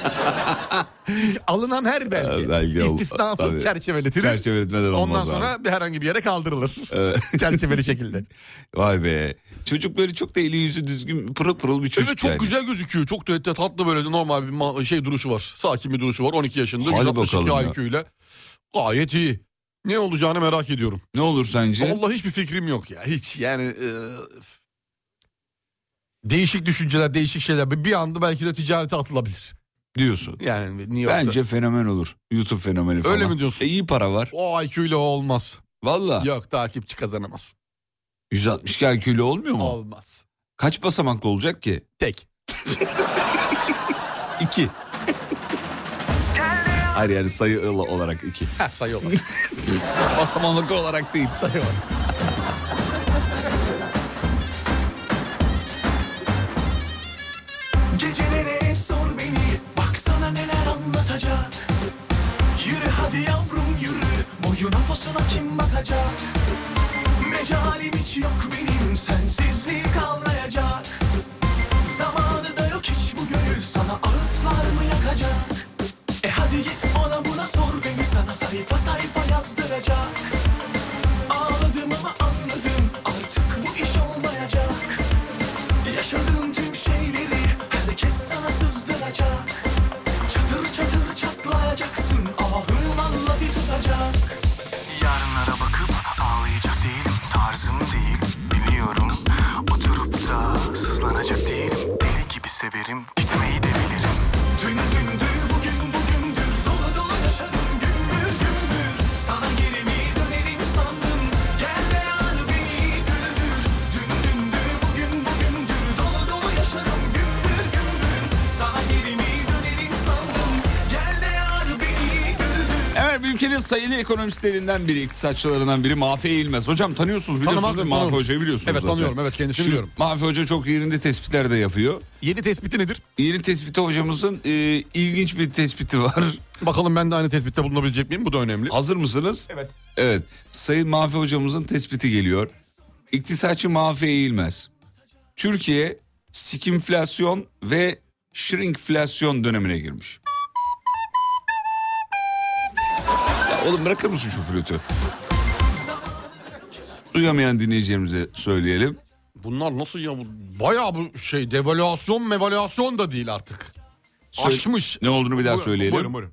Speaker 4: Çünkü alınan her belge
Speaker 3: Ha, belge ol-
Speaker 4: istisnasız
Speaker 3: tabii.
Speaker 4: çerçeveletilir.
Speaker 3: Çerçeve etmeden olmaz
Speaker 4: Ondan sonra
Speaker 3: abi.
Speaker 4: bir herhangi bir yere kaldırılır.
Speaker 3: Evet.
Speaker 4: Çerçeveli şekilde.
Speaker 3: Vay be. Çocuk böyle çok da eli yüzü düzgün pırıl pırıl bir çocuk
Speaker 4: Evet çok
Speaker 3: yani.
Speaker 4: güzel gözüküyor. Çok da tatlı böyle normal bir ma- şey duruşu var. Sakin bir duruşu var. 12 yaşında.
Speaker 3: Hadi
Speaker 4: 162
Speaker 3: bakalım ya.
Speaker 4: IQ ile. Gayet iyi. Ne olacağını merak ediyorum.
Speaker 3: Ne olur sence?
Speaker 4: Vallahi hiçbir fikrim yok ya. Hiç yani... e, değişik düşünceler, değişik şeyler. Bir- Bir anda belki de ticarete atılabilir.
Speaker 3: Diyorsun.
Speaker 4: Yani New York'ta.
Speaker 3: Bence fenomen olur. YouTube fenomeni falan.
Speaker 4: Öyle mi diyorsun?
Speaker 3: E, iyi para var.
Speaker 4: O IQ ile o olmaz.
Speaker 3: Valla.
Speaker 4: Yok takipçi kazanamaz.
Speaker 3: 162 IQ ile olmuyor mu?
Speaker 4: Olmaz.
Speaker 3: Kaç basamaklı olacak ki?
Speaker 4: Tek.
Speaker 3: İki. Hayır yani sayı ıla- olarak iki.
Speaker 4: Her sayı olarak.
Speaker 3: Basamaklı olarak değil.
Speaker 4: sayı olarak.
Speaker 2: Gecelere sor beni Baksana neler anlatacak Yürü hadi yavrum yürü Boyuna posuna kim bakacak Mecalim hiç yok benim Sensizliği kavrayacak Zamanı da yok hiç bu gönül Sana ağıtlar mı yakacak E hadi git ona buna sor beni Sana sayfa sayfa yazdıracak Ağladım ama anladım Artık bu iş olmayacak Yaşadığım tüm şeyleri herkes sana sızdıracak Çatır çatır çatlayacaksın ahın vallahi tutacak Yarınlara bakıp ağlayacak değilim Tarzım değil biliyorum Oturup da sızlanacak değilim Deli gibi severim gitmeyi de bilirim Dün dündü bugün bugündür Dolu dolu yaşadım gümbür gümbür Sana geri mi dönerim sandım Gel be anı beni güldür Dün dündü bugün bugündür Dolu dolu yaşadım gümbür gümbür Sana geri mi dönerim sandım Gel be anı beni güldür
Speaker 3: Evet bir ülkenin sayılı ekonomistlerinden biri, iktisatçılarından biri Mafi Eğilmez. Hocam tanıyorsunuz biliyorsunuz
Speaker 4: Tanımaz
Speaker 3: değil mi?
Speaker 4: mıyım?
Speaker 3: Mafi
Speaker 4: Tanıyorum.
Speaker 3: Hoca'yı biliyorsunuz
Speaker 4: Evet,
Speaker 3: zaten.
Speaker 4: tanıyorum, evet, kendisini
Speaker 3: Şimdi
Speaker 4: biliyorum.
Speaker 3: Mafi Hoca çok yerinde tespitler de yapıyor.
Speaker 4: Yeni tespiti nedir?
Speaker 3: Yeni tespiti hocamızın e, ilginç bir tespiti var.
Speaker 4: Bakalım ben de aynı tespitte bulunabilecek miyim? Bu da önemli.
Speaker 3: Hazır mısınız? Evet. Evet. Sayın Mafi hocamızın tespiti geliyor. İktisatçı Mafi Eğilmez. Türkiye sikimflasyon ve şrinkflasyon dönemine girmiş. Ya oğlum bırakır mısın şu flütü? Duyamayan dinleyicilerimize söyleyelim.
Speaker 4: Bunlar nasıl ya? Bu- Bayağı bu şey devalüasyon mevalüasyon da değil artık.
Speaker 3: Söyle-
Speaker 4: Aşmış.
Speaker 3: Ne olduğunu bir daha
Speaker 4: Buyurun,
Speaker 3: söyleyelim.
Speaker 4: Buyurun buyurun.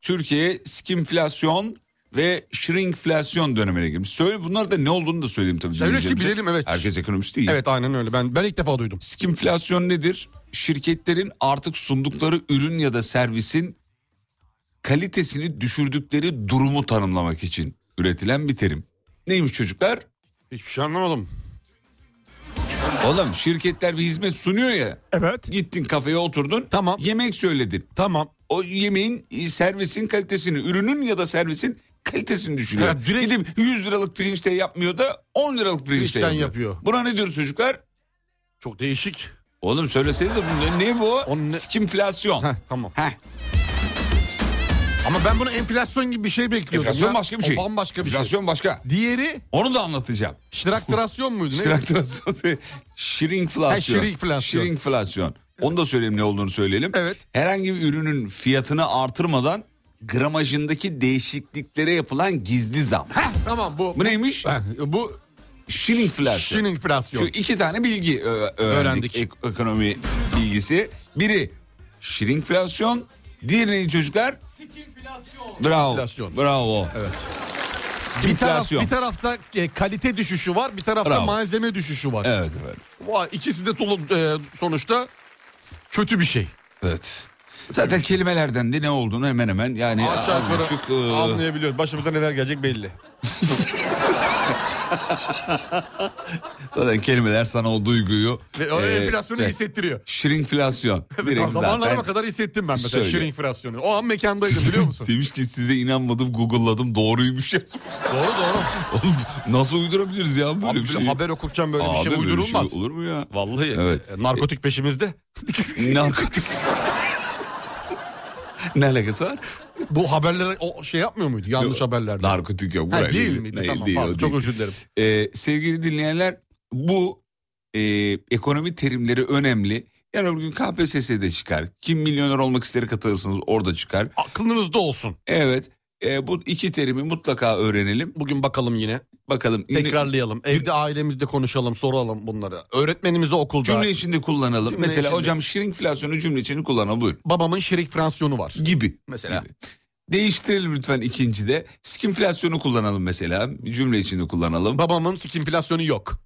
Speaker 3: Türkiye skinflasyon ve shrinkflasyon dönemine girmiş. Söyle bunlar da ne olduğunu da söyleyeyim tabii.
Speaker 4: Söyle ki
Speaker 3: dinleyicilerimize.
Speaker 4: bilelim, evet.
Speaker 3: Herkes ekonomist değil.
Speaker 4: Evet aynen öyle. Ben ben ilk defa duydum.
Speaker 3: Skinflasyon nedir? Şirketlerin artık sundukları ürün ya da servisin kalitesini düşürdükleri durumu tanımlamak için üretilen bir terim. Neymiş çocuklar?
Speaker 4: Hiçbir şey anlamadım.
Speaker 3: Oğlum şirketler bir hizmet sunuyor ya.
Speaker 4: Evet.
Speaker 3: Gittin kafeye oturdun.
Speaker 4: Tamam.
Speaker 3: Yemek söyledin.
Speaker 4: Tamam.
Speaker 3: O yemeğin e, servisin kalitesini, ürünün ya da servisin kalitesini düşünüyor.
Speaker 4: Ha, direkt-
Speaker 3: Gidip 100 liralık pirinçte yapmıyor da 10 liralık pirinçte
Speaker 4: Pirinçten
Speaker 3: yapıyor.
Speaker 4: yapıyor.
Speaker 3: Buna ne diyoruz çocuklar?
Speaker 4: Çok değişik.
Speaker 3: Oğlum söylesenize bu ne, ne bu?
Speaker 4: Onun ne-
Speaker 3: Skinflasyon.
Speaker 4: Heh, tamam.
Speaker 3: Heh. Ama
Speaker 4: Ama ben bunu enflasyon gibi bir şey bekliyordum.
Speaker 3: enflasyon
Speaker 4: ya.
Speaker 3: başka bir şey.
Speaker 4: O bambaşka bir
Speaker 3: enflasyon başka.
Speaker 4: şey. Diğeri
Speaker 3: Onu da anlatacağım.
Speaker 4: şıraktrasyon muydu? Ne?
Speaker 3: Şrinkflasyon. değil, Şrinkflasyon.
Speaker 4: Ha, şrinkflasyon.
Speaker 3: Şrinkflasyon. Onu da söyleyelim ne olduğunu söyleyelim.
Speaker 4: Evet.
Speaker 3: Herhangi bir ürünün fiyatını artırmadan gramajındaki değişikliklere yapılan gizli zam.
Speaker 4: Heh, tamam bu.
Speaker 3: Bu neymiş? şey.
Speaker 4: Heh, bu
Speaker 3: Şrinkflasyon. Şu
Speaker 4: şininflasyon.
Speaker 3: iki tane bilgi ö- öğrendik.
Speaker 4: Öğrendik.
Speaker 3: Ek- ekonomi bilgisi. Biri şrinkflasyon. Diğeri neydi çocuklar? Skinflasyon. Bravo.
Speaker 4: Skinflasyon.
Speaker 3: Bravo.
Speaker 4: Evet. Bir, taraf,
Speaker 3: Skinflasyon.
Speaker 4: bir tarafta e, kalite düşüşü var, bir tarafta
Speaker 3: Bravo.
Speaker 4: malzeme düşüşü var.
Speaker 3: Evet efendim.
Speaker 4: Vay, İkisi de dolu- e, sonuçta kötü bir şey.
Speaker 3: Evet. Zaten kelimelerden de ne olduğunu hemen hemen yani
Speaker 4: Aşağı
Speaker 3: az buçuk, e,
Speaker 4: yukarı anlayabiliyoruz. Başımıza neler gelecek belli.
Speaker 3: zaten kelimeler sana o duyguyu
Speaker 4: Ve o
Speaker 3: e,
Speaker 4: enflasyonu
Speaker 3: şey,
Speaker 4: hissettiriyor.
Speaker 3: Şrinkflasyon. Direkt
Speaker 4: Zamanlarıma
Speaker 3: zaten.
Speaker 4: kadar hissettim ben mesela
Speaker 3: Söyle.
Speaker 4: şirinflasyonu. O an mekandaydım biliyor musun?
Speaker 3: Demiş ki size inanmadım Google'ladım doğruymuş yazmış.
Speaker 4: doğru doğru.
Speaker 3: Oğlum, Nasıl uydurabiliriz ya böyle
Speaker 4: Abi
Speaker 3: bir
Speaker 4: böyle
Speaker 3: şey?
Speaker 4: haber okurken böyle bir
Speaker 3: Abi
Speaker 4: şey
Speaker 3: böyle
Speaker 4: uydurulmaz.
Speaker 3: şey olur mu ya?
Speaker 4: Vallahi
Speaker 3: Evet.
Speaker 4: e, narkotik peşimizde.
Speaker 3: Narkotik. ne alakası var?
Speaker 4: Bu haberlere o şey yapmıyor muydu? Yanlış haberlerde.
Speaker 3: Narkotik yok.
Speaker 4: Ha,
Speaker 3: buraya
Speaker 4: değil
Speaker 3: değil.
Speaker 4: miydi?
Speaker 3: Değil,
Speaker 4: Tamam,
Speaker 3: değil,
Speaker 4: pardon,
Speaker 3: o
Speaker 4: çok
Speaker 3: değil.
Speaker 4: özür dilerim.
Speaker 3: Ee, sevgili dinleyenler bu e, ekonomi terimleri önemli. Yarın bugün gün KPSS'de çıkar. Kim milyoner olmak ister katılırsınız orada çıkar.
Speaker 4: Aklınızda olsun.
Speaker 3: Evet e, bu iki terimi mutlaka öğrenelim.
Speaker 4: Bugün bakalım yine.
Speaker 3: Bakalım yine
Speaker 4: Tekrarlayalım. Evde ailemizde konuşalım, soralım bunları. Öğretmenimize okulda.
Speaker 3: cümle içinde kullanalım.
Speaker 4: Cümle
Speaker 3: Mesela
Speaker 4: içinde.
Speaker 3: hocam şirinflasyonu cümle içinde kullanalım buyurun.
Speaker 4: Babamın şirik fransiyonu var.
Speaker 3: Gibi.
Speaker 4: Mesela.
Speaker 3: Gibi. Değiştirelim lütfen ikincide. Skinflasyonu kullanalım mesela. Cümle içinde kullanalım.
Speaker 4: Babamın skinflasyonu yok.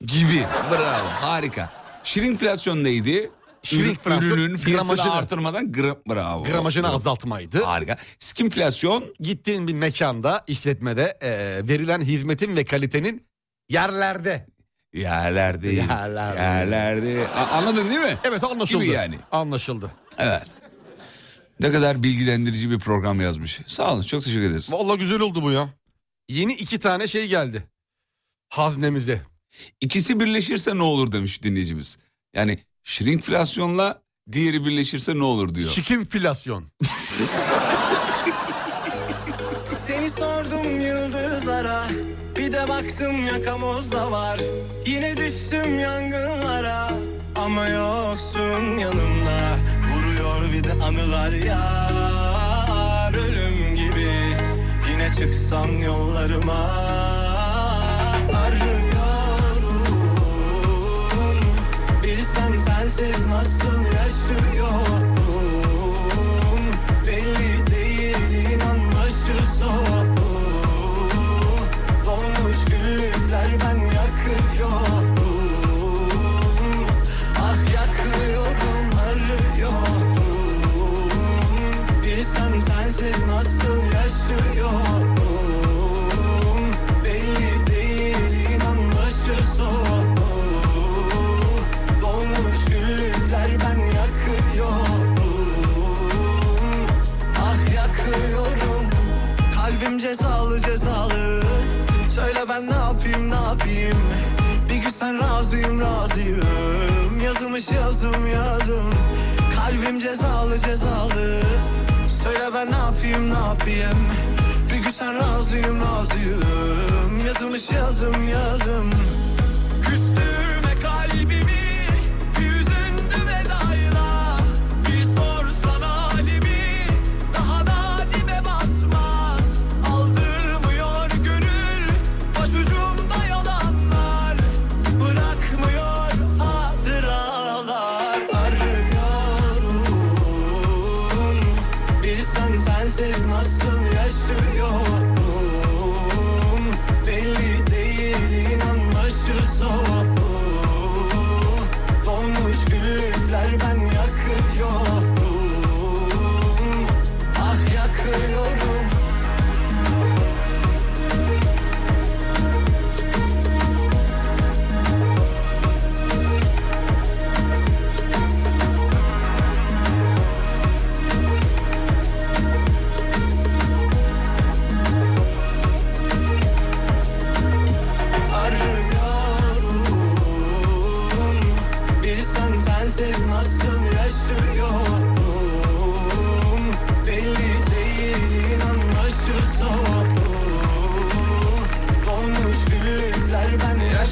Speaker 3: Gibi. Bravo. Harika. Şirinflasyon neydi?
Speaker 4: Şirinflasyon,
Speaker 3: Ürünün fiyatını
Speaker 4: gramajını.
Speaker 3: artırmadan gra- bravo.
Speaker 4: Gramajını
Speaker 3: Bravo.
Speaker 4: azaltmaydı.
Speaker 3: Harika. Skinflasyon
Speaker 4: Gittiğin bir mekanda, işletmede e, verilen hizmetin ve kalitenin yerlerde.
Speaker 3: yerlerde.
Speaker 4: Yerlerde.
Speaker 3: Yerlerde. A- anladın değil mi?
Speaker 4: Evet anlaşıldı.
Speaker 3: Gibi yani.
Speaker 4: Anlaşıldı.
Speaker 3: Evet. Ne kadar bilgilendirici bir program yazmış. Sağ olun. Çok teşekkür ederiz.
Speaker 4: Vallahi güzel oldu bu ya. Yeni iki tane şey geldi. Haznemize.
Speaker 3: İkisi birleşirse ne olur demiş dinleyicimiz. Yani şirinflasyonla diğeri birleşirse ne olur diyor.
Speaker 4: Şikinflasyon.
Speaker 7: Seni sordum yıldızlara Bir de baktım yakamozda var Yine düştüm yangınlara Ama yoksun yanımda Vuruyor bir de anılar ya Ölüm gibi Yine çıksam yollarıma Arıyorum Bilsen sensiz nasıl yaşıyorum Belli değil inan başı soğuk Dolmuş güllükler ben yakıyorum Ah yakıyorum arıyorum Bilsem sensiz nasıl yaşıyorum Belli değil inan başı soğuk Dolmuş güllükler ben yakıyorum Ah yakıyorum Kalbim cezalı cezalı Söyle ben ne yapayım ne yapayım Bir gün sen razıyım razıyım Yazılmış yazım yazım Kalbim cezalı cezalı Söyle ben ne yapayım ne yapayım Bir gün sen razıyım razıyım Yazılmış yazım yazım Küstüme kalbimi Yüzündü vedayla Bir sorsana halimi Daha da dibe basmaz Aldırmıyor gönül Başucumda yalanlar Bırakmıyor hatıralar Arıyorum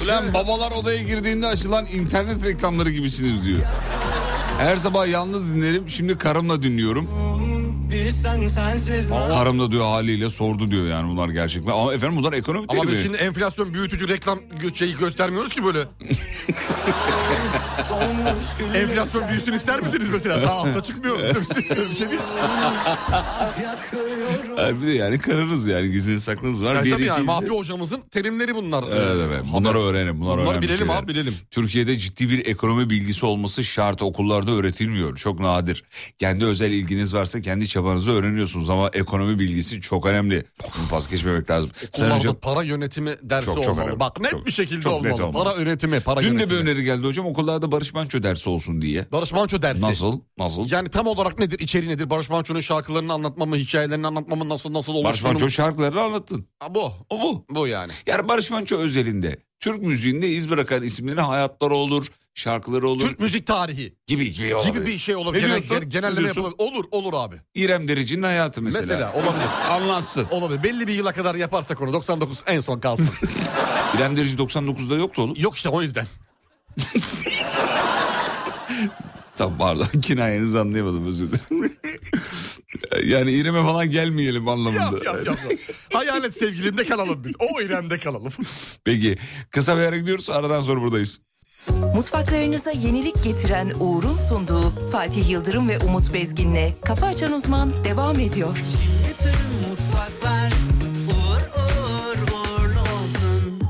Speaker 3: Hocam babalar odaya girdiğinde açılan internet reklamları gibisiniz diyor. Her sabah yalnız dinlerim şimdi karımla dinliyorum.
Speaker 8: Bir sen sensiz nasıl
Speaker 3: Karım da diyor haliyle sordu diyor yani bunlar gerçekten. Ama efendim bunlar ekonomi
Speaker 4: Ama
Speaker 3: terimi.
Speaker 4: biz şimdi enflasyon büyütücü reklam gö- şeyi göstermiyoruz ki böyle.
Speaker 8: olmuş gülüm
Speaker 4: Enflasyon büyüsün ister misiniz mesela? Sağ altta çıkmıyor. bir şey değil.
Speaker 8: yakıyorum
Speaker 3: Ha, Ee, Bir de yani kararız yani gizli saklınız var.
Speaker 4: Yani
Speaker 3: Bir,
Speaker 4: tabii
Speaker 3: iki,
Speaker 4: yani
Speaker 3: üç.
Speaker 4: mafya hocamızın terimleri bunlar.
Speaker 3: Evet evet. Bunları öğrenin. Bunlar
Speaker 4: Bunları
Speaker 3: önemli
Speaker 4: bilelim
Speaker 3: şeyler.
Speaker 4: abi, bilelim.
Speaker 3: Türkiye'de ciddi bir ekonomi bilgisi olması şart okullarda öğretilmiyor. Çok nadir. Kendi özel ilginiz varsa kendi çabanızı öğreniyorsunuz ama ekonomi bilgisi çok önemli. Bunu pas geçmemek lazım. Sen
Speaker 4: Kullarda
Speaker 3: hocam
Speaker 4: para yönetimi dersi
Speaker 3: Çok, çok
Speaker 4: olmalı.
Speaker 3: önemli.
Speaker 4: Bak net
Speaker 3: Çok,
Speaker 4: bir şekilde
Speaker 3: çok net
Speaker 4: olmalı.
Speaker 3: olmalı.
Speaker 4: Para yönetimi, para
Speaker 3: dün de
Speaker 4: yönetimi.
Speaker 3: bir öneri geldi hocam okullarda Barış Manço dersi olsun diye.
Speaker 4: Barış Manço dersi.
Speaker 3: Nasıl? Nasıl?
Speaker 4: Yani tam olarak nedir? İçeriği nedir? Barış Manço'nun şarkılarını anlatmamı, hikayelerini anlatmamı nasıl nasıl olur?
Speaker 3: Barış Manço şarkılarını anlattın.
Speaker 4: Bu.
Speaker 3: O bu.
Speaker 4: Bu yani.
Speaker 3: Yani Barış Manço özelinde Türk müziğinde iz bırakan isimleri hayatları olur, şarkıları olur
Speaker 4: Türk müzik tarihi
Speaker 3: gibi gibi
Speaker 4: gibi bir şey olabilir.
Speaker 3: Ne
Speaker 4: Genel,
Speaker 3: diyorsun? Ne
Speaker 4: genelleme
Speaker 3: diyorsun?
Speaker 4: yapılabilir. Olur, olur abi.
Speaker 3: İrem Derici'nin hayatı mesela.
Speaker 4: Mesela olabilir.
Speaker 3: Anlatsın.
Speaker 4: Olabilir. Belli bir yıla kadar yaparsak onu 99 en son kalsın.
Speaker 3: İrem Derici 99'da yoktu oğlum.
Speaker 4: Yok işte o yüzden.
Speaker 3: Tamam pardon kinayenizi anlayamadım özür dilerim. yani İrem'e falan gelmeyelim
Speaker 4: Yap
Speaker 3: anlamında.
Speaker 4: yap yap. Hayalet sevgilimde kalalım biz. O İrem'de kalalım.
Speaker 3: Peki kısa bir ara gidiyoruz aradan sonra buradayız.
Speaker 1: Mutfaklarınıza yenilik getiren Uğur'un sunduğu Fatih Yıldırım ve Umut Bezgin'le Kafa Açan Uzman devam ediyor.
Speaker 9: Bütün mutfaklar uğur uğur uğurlu olsun.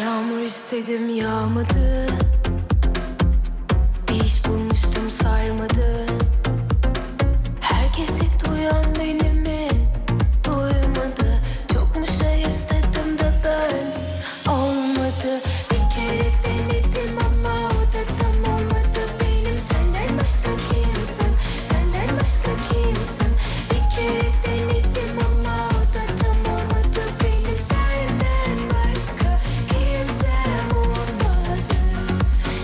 Speaker 10: Yağmur istedim yağmadı Bir iş bulmuştum sarmadı Herkesi duyan beni mi? Duymadı Çok mu şey istedim de ben Olmadı Bir kere denedim ama o da tam olmadı Benim senden başka kimsin? Senden başka kimsin? Bir kere denedim ama o da tam olmadı Benim senden başka kimsem olmadı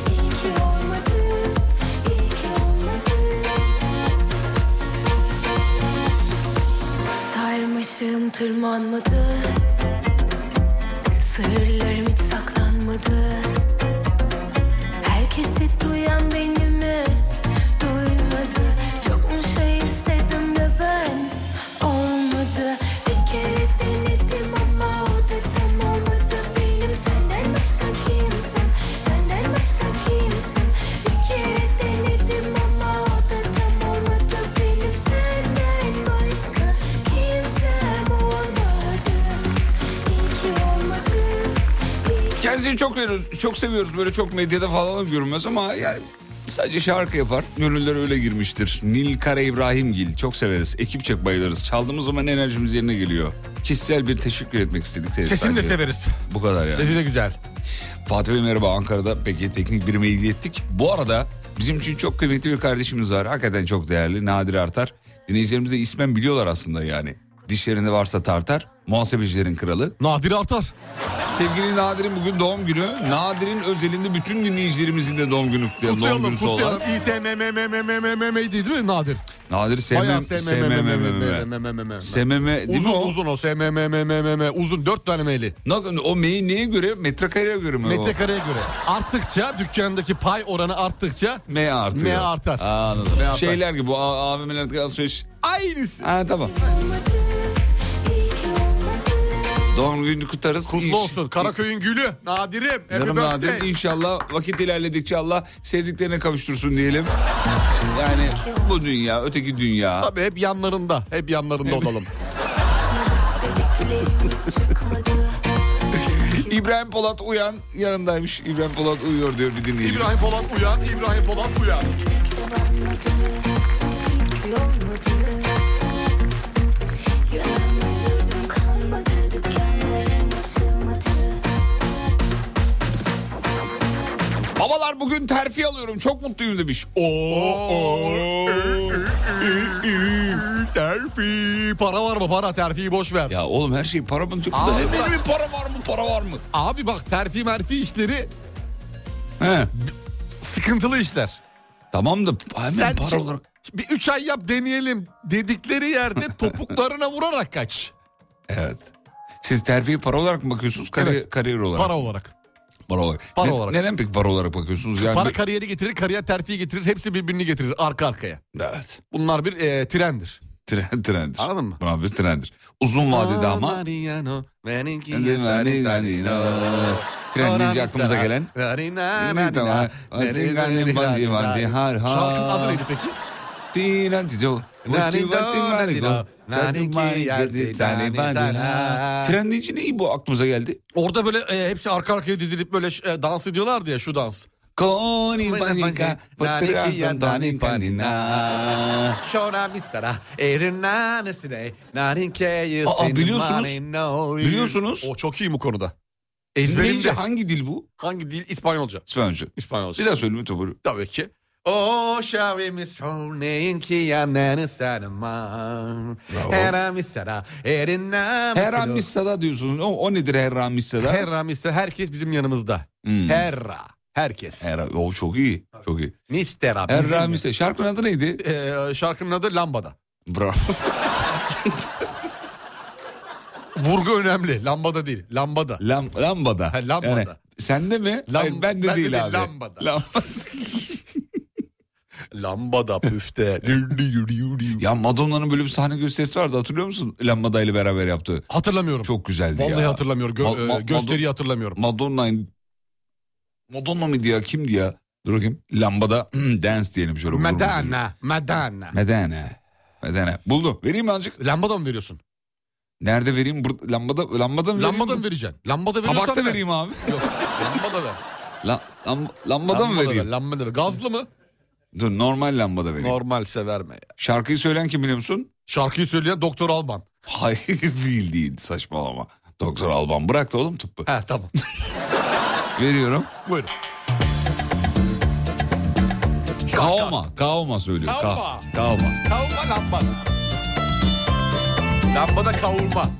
Speaker 10: İyi ki olmadı, iyi ki olmadı Sarmışım tırmanmadı Sırlarım hiç saklanmadı Herkesi duyan beni mi? Duymadı Çok mu şey istedim de ben Olmadı Bir kere denedim ama o da tam olmadı Benim senden başka kimsin? Senden başka kimsin? Bir kere denedim ama o da tam olmadı Benim senden başka kimsem olmadı İyi ki olmadı İyi ki
Speaker 3: Kendisini çok seviyoruz, çok seviyoruz böyle çok medyada falan görünmez ama yani sadece şarkı yapar. Gönüller öyle girmiştir. Nil Kara İbrahimgil çok severiz. Ekipçek bayılırız. Çaldığımız zaman enerjimiz yerine geliyor. Kişisel bir teşekkür etmek istedik. size
Speaker 4: Sesini de
Speaker 3: sadece.
Speaker 4: severiz.
Speaker 3: Bu kadar yani.
Speaker 4: Sesi de güzel.
Speaker 3: Fatih Bey merhaba Ankara'da peki teknik birime ilettik. Bu arada bizim için çok kıymetli bir kardeşimiz var. Hakikaten çok değerli Nadir Artar. Dinleyicilerimiz de ismen biliyorlar aslında yani. Dişlerinde varsa tartar. Muhasebecilerin kralı.
Speaker 4: Nadir Artar.
Speaker 3: Sevgili Nadir'in bugün doğum günü. Nadir'in özelinde bütün dinleyicilerimizin de doğum günü doğum
Speaker 4: Kutlayalım
Speaker 3: günüsü olan.
Speaker 4: kutlayalım. İSMMMMMMM'ydi değil mi Nadir?
Speaker 3: Nadir
Speaker 4: Bayağı
Speaker 3: sevmem sevmem
Speaker 4: SMMMMMMMMMMMMMMMMMMMMMMMMMMMMMMMMMMMMMMMMMMMMMMMMMMMMMMem.
Speaker 3: değil mi
Speaker 4: Uzun
Speaker 3: o?
Speaker 4: uzun o SMMMMMMM uzun dört tane meyli.
Speaker 3: Ne- O meyi neye göre? Metrekareye göre mi o?
Speaker 4: Metrekareye göre arttıkça dükkandaki pay oranı arttıkça
Speaker 3: M artıyor.
Speaker 4: M artar.
Speaker 3: Anladım.
Speaker 4: M artar.
Speaker 3: Şeyler gibi bu A- AVM'lerdeki alışveriş.
Speaker 4: aynısı.
Speaker 3: Ha tamam.
Speaker 10: olmadı İyi ki olmadı
Speaker 3: Doğum gününü kutlarız. İyi-
Speaker 4: Kutlu olsun. Karaköy'ün gülü. Nadir'im. happy
Speaker 3: Yarım
Speaker 4: birthday.
Speaker 3: nadir inşallah vakit ilerledikçe Allah sevdiklerine kavuştursun diyelim. Yani bu dünya, öteki dünya.
Speaker 4: Tabii hep yanlarında. Hep yanlarında olalım.
Speaker 3: İbrahim Polat uyan yanındaymış. İbrahim Polat uyuyor diyor bir dinleyicimiz.
Speaker 4: İbrahim Polat uyan. İbrahim Polat uyan.
Speaker 10: Yönlendirdim kalmadı dükkanlarım açılmadı
Speaker 3: var bugün terfi alıyorum çok mutluyum demiş. Oo, oo,
Speaker 4: Terfi. Para var mı para? Terfiyi boş ver.
Speaker 3: Ya oğlum her şey para mı?
Speaker 4: Abi
Speaker 3: Abi,
Speaker 4: bak-
Speaker 3: benim para var mı para var mı?
Speaker 4: Abi bak terfi merfi işleri
Speaker 3: He.
Speaker 4: sıkıntılı işler.
Speaker 3: Tamam da hemen
Speaker 4: Sen
Speaker 3: para
Speaker 4: şimdi-
Speaker 3: olarak.
Speaker 4: Bir üç ay yap deneyelim dedikleri yerde topuklarına vurarak kaç.
Speaker 3: Evet. Siz terfiye para olarak mı bakıyorsunuz? Kari-
Speaker 4: Evet.
Speaker 3: Kariyer olarak.
Speaker 4: Para olarak.
Speaker 3: Para olarak.
Speaker 4: Para
Speaker 3: Ne-
Speaker 4: olarak.
Speaker 3: Neden peki para olarak bakıyorsunuz? Yani
Speaker 4: Para kariyeri getirir, kariyer terfiyi getirir. Hepsi birbirini getirir arka arkaya.
Speaker 3: Evet.
Speaker 4: Bunlar bir e, trendir.
Speaker 3: Tren, trendir.
Speaker 4: Anladın mı?
Speaker 3: Bravo, bir trendir. Uzun vadede ama.
Speaker 4: Mariano, benimki
Speaker 3: Yani- yani-
Speaker 4: yeter.
Speaker 3: yani- Tren deyince aklımıza gelen. Ne tamam. Tinganin bandi bandi har har.
Speaker 4: Şarkının adı neydi peki?
Speaker 3: Tinantico. Tren deyince neyi bu aklımıza geldi?
Speaker 4: Orada böyle e, hepsi arka arkaya dizilip böyle e, dans ediyorlardı ya şu dans.
Speaker 3: Koni panika, pıtırasın tani panina.
Speaker 4: Şona misara, erinden esine, narinke
Speaker 3: Aa,
Speaker 4: yesin,
Speaker 3: biliyorsunuz.
Speaker 4: marino.
Speaker 3: Biliyorsunuz.
Speaker 4: O çok iyi bu konuda.
Speaker 3: Deyince
Speaker 4: Ezberimde.
Speaker 3: hangi dil bu?
Speaker 4: Hangi dil? İspanyolca.
Speaker 3: İspanyolca.
Speaker 4: İspanyolca.
Speaker 3: Bir daha söyle lütfen buyurun.
Speaker 4: Tabii ki. O şavrimi soneyin ki yanını sarma.
Speaker 3: Bravo.
Speaker 4: Herami sara, erinna
Speaker 3: Herra Missa'da diyorsunuz. O, o nedir Herra Missa'da?
Speaker 4: Herra misara, herkes bizim yanımızda.
Speaker 3: Hmm.
Speaker 4: Herra, herkes.
Speaker 3: Herra. O çok iyi. Çok iyi.
Speaker 4: Mistera.
Speaker 3: Herra
Speaker 4: bizim-
Speaker 3: Missa. Şarkının adı neydi?
Speaker 4: Ee, şarkının adı Lambada.
Speaker 3: Bravo.
Speaker 4: Vurgu önemli. Lambada değil. Lambada.
Speaker 3: Lam, lambada.
Speaker 4: Ha, lambada.
Speaker 3: sende mi?
Speaker 4: Lam-
Speaker 3: Hayır, ben de
Speaker 4: ben de
Speaker 3: değil
Speaker 4: değil,
Speaker 3: abi.
Speaker 4: lambada.
Speaker 3: Lam-
Speaker 4: Lambada püfte.
Speaker 3: ya Madonna'nın böyle bir sahne gösterisi vardı hatırlıyor musun? Lambada ile beraber yaptığı.
Speaker 4: hatırlamıyorum.
Speaker 3: Çok güzeldi
Speaker 4: Vallahi
Speaker 3: ya.
Speaker 4: hatırlamıyorum. Gö-
Speaker 3: Ma- ma-
Speaker 4: e, gösteriyi hatırlamıyorum.
Speaker 3: Madonna'nın... Madonna mıydı ya? Kimdi ya? Dur bakayım. Lambada dance diyelim şöyle. grubumuz diyelim.
Speaker 4: Madonna. Madonna.
Speaker 3: Medene. Medene. Buldum. Vereyim mi azıcık?
Speaker 4: Lambada mı veriyorsun?
Speaker 3: Nerede vereyim? Bur- lambada, lambada mı
Speaker 4: Lambada
Speaker 3: vereyim?
Speaker 4: mı vereceksin? Lambada veriyorsan
Speaker 3: Tabakta
Speaker 4: ver.
Speaker 3: vereyim abi.
Speaker 4: Yok. Lambada ver.
Speaker 3: La- lam- lambada mı
Speaker 4: ver,
Speaker 3: vereyim?
Speaker 4: Lambada ver. Gazlı mı?
Speaker 3: Dur normal lambada vereyim.
Speaker 4: Normalse verme ya.
Speaker 3: Şarkıyı söyleyen kim biliyor musun?
Speaker 4: Şarkıyı söyleyen Doktor Alban.
Speaker 3: Hayır değil değil saçmalama. Doktor Alban bırak da oğlum tıbbı.
Speaker 4: He tamam.
Speaker 3: Veriyorum.
Speaker 4: Buyurun.
Speaker 3: Kaoma. Kaoma söylüyor. Ka-
Speaker 4: Kaoma.
Speaker 3: Kaoma.
Speaker 4: Kavurma lambada. Lambada kavurma.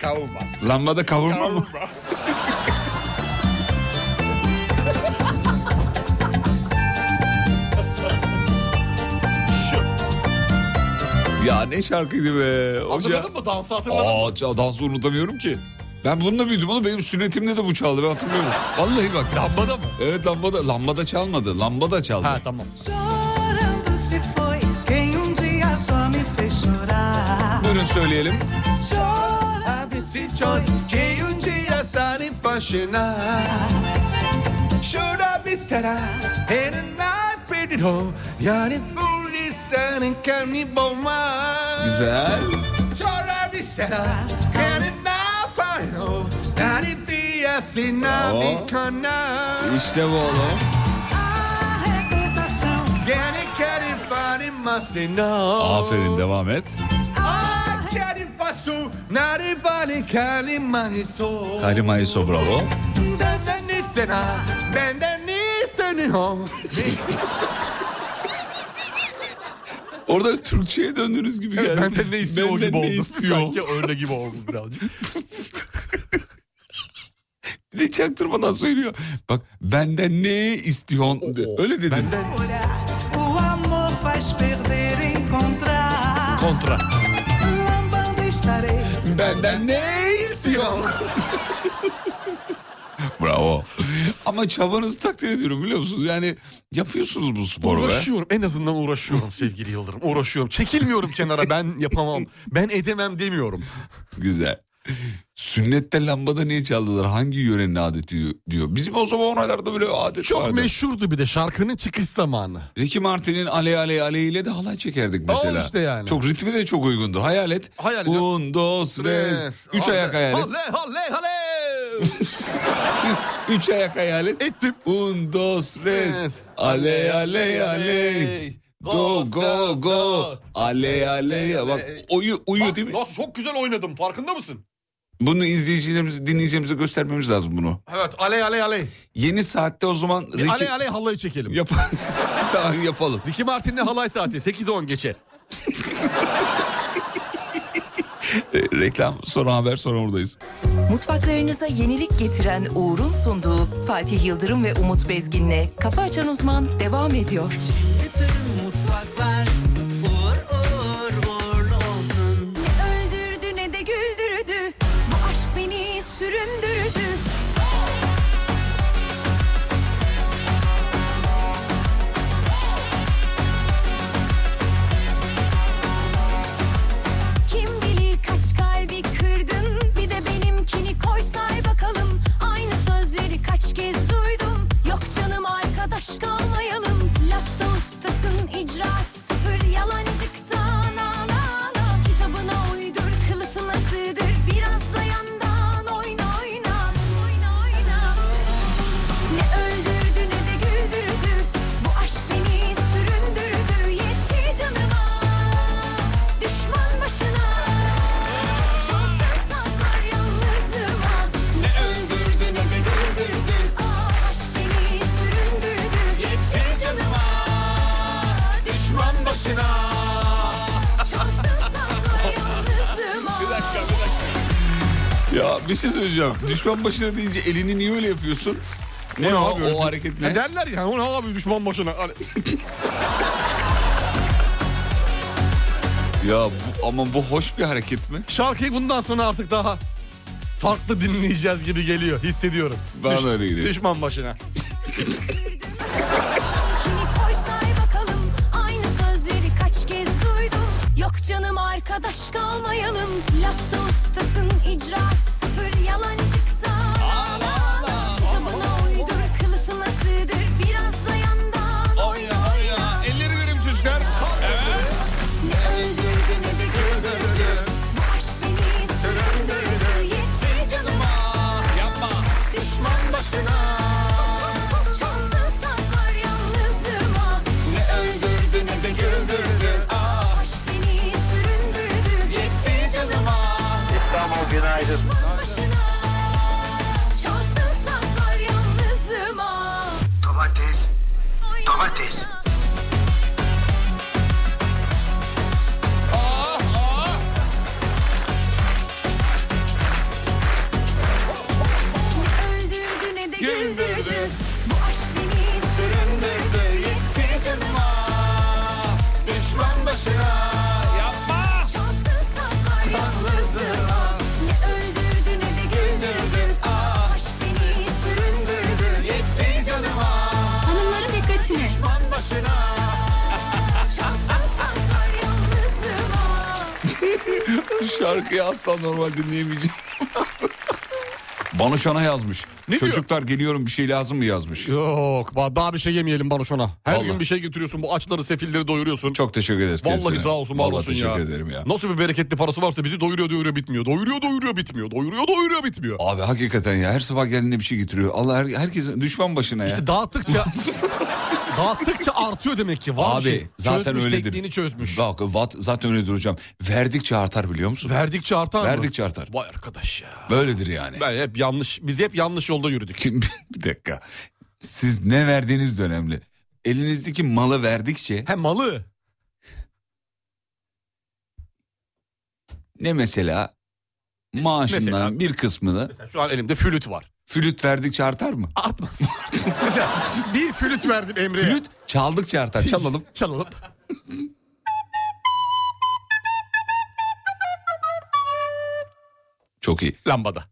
Speaker 4: Kavurma.
Speaker 3: Lambada kavurma mı? ya ne şarkıydı be. Hoca.
Speaker 4: Hatırladın mı? Dansı hatırladın mı?
Speaker 3: Aa ça- dansı unutamıyorum ki. Ben bununla büyüdüm oğlum benim sünnetimde de bu çaldı ben hatırlıyorum. Vallahi bak.
Speaker 4: Lambada mı?
Speaker 3: Evet lambada, lambada çalmadı. Lambada çaldı.
Speaker 4: Ha tamam.
Speaker 9: Chorando se foi quem um dia só me fez chorar.
Speaker 3: Buyurun söyleyelim.
Speaker 9: Chorando se foi
Speaker 3: Güzel. Bravo. İşte bu oğlum.
Speaker 9: a recordação.
Speaker 3: Aferin devam et.
Speaker 7: Ah,
Speaker 3: Kalimay so bravo. Orada Türkçe'ye döndüğünüz gibi geldi.
Speaker 4: Benden ne istiyor o
Speaker 3: Benden
Speaker 4: gibi
Speaker 3: ne
Speaker 4: oldu.
Speaker 3: istiyor?
Speaker 4: Sanki öyle gibi oldu birazcık.
Speaker 3: Bir de çaktırmadan söylüyor. Bak benden ne istiyorsun? de- Öyle dediniz.
Speaker 9: olhar. O amor faz perder, encontrar.
Speaker 4: Kontra.
Speaker 9: Lambando estarei.
Speaker 3: Benden ne istiyorsun? Bravo. Ama çabanızı takdir ediyorum biliyor musunuz? Yani yapıyorsunuz bu sporu be.
Speaker 4: Uğraşıyorum. En azından uğraşıyorum sevgili Yıldırım. Uğraşıyorum. Çekilmiyorum kenara. Ben yapamam. Ben edemem demiyorum.
Speaker 3: Güzel. Sünnette lambada niye çaldılar? Hangi yörenin adeti diyor. Bizim o zaman oralarda böyle adet
Speaker 4: Çok
Speaker 3: vardı.
Speaker 4: meşhurdu bir de şarkının çıkış zamanı.
Speaker 3: Ricky Martin'in Aley Aley Aley ile de halay çekerdik mesela.
Speaker 4: işte yani.
Speaker 3: Çok ritmi de çok uygundur. Hayal et.
Speaker 4: Hayal et.
Speaker 3: Un, dos, res. Üç
Speaker 4: Oley,
Speaker 3: ayak hayal et.
Speaker 4: Oley oley oley.
Speaker 3: Üç ayak hayal et.
Speaker 4: Ettim.
Speaker 3: Un, dos, res.
Speaker 4: Res.
Speaker 3: Aley aley aley.
Speaker 4: Aley.
Speaker 3: Go
Speaker 4: Dos,
Speaker 3: go
Speaker 4: dos,
Speaker 3: go.
Speaker 4: dos.
Speaker 3: Aley aley. Bak uyu, uyu
Speaker 4: Bak,
Speaker 3: değil mi?
Speaker 4: Nasıl çok güzel oynadım farkında mısın?
Speaker 3: Bunu izleyicilerimize, dinleyicilerimize göstermemiz lazım bunu.
Speaker 4: Evet aley aley aley.
Speaker 3: Yeni saatte o zaman
Speaker 4: Bir
Speaker 3: Ricky-
Speaker 4: aley aley halayı çekelim.
Speaker 3: Yap- tamam yapalım.
Speaker 4: Ricky Martin'le halay saati 8-10 geçe.
Speaker 3: E, reklam sonra haber sonra oradayız.
Speaker 1: Mutfaklarınıza yenilik getiren Uğur'un sunduğu Fatih Yıldırım ve Umut Bezgin'le Kafa Açan Uzman devam ediyor.
Speaker 7: Öldürdü ne de güldürdü Bu aşk beni süründürdü Kim bilir kaç kalbi kırdın Bir de benimkini koy say bakalım Aynı sözleri kaç kez duydum Yok canım arkadaş kalmayalım Lafta ustasın icraat sıfır Yalancıktan ağlana Kitabına uydur kılıfına sığdır Biraz da yandan oyna oyna Oyna oyna ne öldürdü ne de güldürdü Bu aşk beni süründürdü Yetti canıma Düşman başına Çalsın sazlar yalnızlığıma Ne öldürdü ne de güldürdü Aa, Aşk beni süründürdü Yetti canıma Düşman başına Çalsın sazlar yalnızlığıma
Speaker 3: Ya bir şey söyleyeceğim. Düşman başına deyince elini niye öyle yapıyorsun? Ne o,
Speaker 4: yapıyorsun?
Speaker 3: o hareket ne?
Speaker 4: E derler ya o ne abi düşman başına. Hani-
Speaker 3: Ya bu, ama bu hoş bir hareket mi?
Speaker 4: Şarkıyı bundan sonra artık daha farklı dinleyeceğiz gibi geliyor hissediyorum.
Speaker 3: Bana da öyle geliyor.
Speaker 4: Düşman başına.
Speaker 7: Kini koy say bakalım Aynı sözleri kaç kez duydum Yok canım arkadaş kalmayalım Lafta ustasın icraat sıfır Yalancıktan ağlama Kitabına uydur kılıfına sığdır Biraz da yandan oyna oyna
Speaker 3: Elleri verim çocuklar.
Speaker 7: Ne öldürdü ne de güldürdü Bu aşk beni süründürdü Yetti canıma
Speaker 3: Yapma.
Speaker 7: düşman başına Çalsın sazlar yalnızlığıma Ne öldürdü ne de güldürdü Ah, Aşk beni süründürdü Yetti canıma İstanbul günaydın başına Çalsın sazlar yalnızlığıma
Speaker 11: Domates
Speaker 7: Oyna,
Speaker 11: Domates.
Speaker 7: oyna. Öldürdü ne de güldürdü Bu aşk beni süründürdü Yetti canıma Düşman başına Yapma Çalsın sazlar yalnızlığıma Ne öldürdü ne de güldürdü Bu aşk beni süründürdü Yetti canıma Hanımların dikkatini Düşman başına Çalsın sazlar yalnızlığıma
Speaker 3: Şarkıyı asla normal dinleyemeyeceğim. Banu Şan'a yazmış.
Speaker 4: Ne diyor?
Speaker 3: Çocuklar geliyorum bir şey lazım mı yazmış.
Speaker 4: Yok ba- daha bir şey yemeyelim bana şuna. Her
Speaker 3: Vallahi.
Speaker 4: gün bir şey götürüyorsun bu açları sefilleri doyuruyorsun.
Speaker 3: Çok teşekkür ederiz.
Speaker 4: Vallahi
Speaker 3: kendisine.
Speaker 4: sağ olsun var
Speaker 3: Vallahi
Speaker 4: olsun
Speaker 3: teşekkür
Speaker 4: ya.
Speaker 3: ederim ya.
Speaker 4: Nasıl bir bereketli parası varsa bizi doyuruyor doyuruyor bitmiyor. Doyuruyor doyuruyor bitmiyor. Doyuruyor doyuruyor bitmiyor.
Speaker 3: Abi hakikaten ya her sabah geldiğinde bir şey getiriyor. Allah her, herkesin düşman başına ya.
Speaker 4: İşte dağıttıkça dağıttıkça artıyor demek ki. Var
Speaker 3: Abi
Speaker 4: bir şey.
Speaker 3: zaten
Speaker 4: çözmüş,
Speaker 3: öyledir.
Speaker 4: tekniğini çözmüş.
Speaker 3: Bak vat zaten öyledir hocam. Verdikçe artar biliyor musun?
Speaker 4: Verdikçe artar mı?
Speaker 3: Verdikçe artar.
Speaker 4: Vay arkadaş ya.
Speaker 3: Böyledir yani.
Speaker 4: Ben hep yanlış, biz hep yanlış yolda yürüdük.
Speaker 3: Kim- bir dakika. Siz ne verdiğiniz de önemli. Elinizdeki malı verdikçe
Speaker 4: Hem malı.
Speaker 3: ne mesela maaşından
Speaker 4: Mesela-
Speaker 3: bir kısmını
Speaker 4: Mesela şu an elimde flüt var.
Speaker 3: flüt verdikçe artar mı?
Speaker 4: Artmaz. Mesela bir flüt verdim Emre'ye.
Speaker 3: Flüt çaldıkça artar. Çalalım.
Speaker 4: Çalalım.
Speaker 3: Çok iyi.
Speaker 4: Lambada.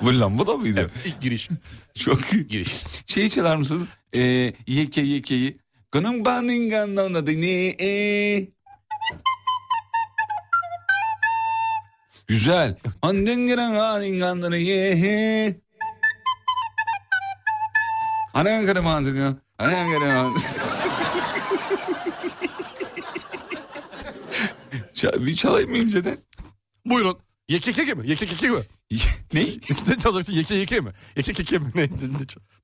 Speaker 3: Bu lamba da mıydı?
Speaker 4: İlk giriş.
Speaker 3: Çok iyi.
Speaker 4: Giriş.
Speaker 3: Şeyi çalar mısınız? Ee, yeke yekeyi. Ganın banın ganın adı ne? Ee. Güzel. Andın giren anin ganları ye. he. Anan kadar mantıklı. Anan kadar mantıklı. Çal- bir çalayım mı inceden?
Speaker 4: Buyurun. Yekekeke mi? Yekekeke mi?
Speaker 3: ne?
Speaker 4: ne çalacaksın? Yeke yeke mi? Yeke keke mi? Ne- ne- ne-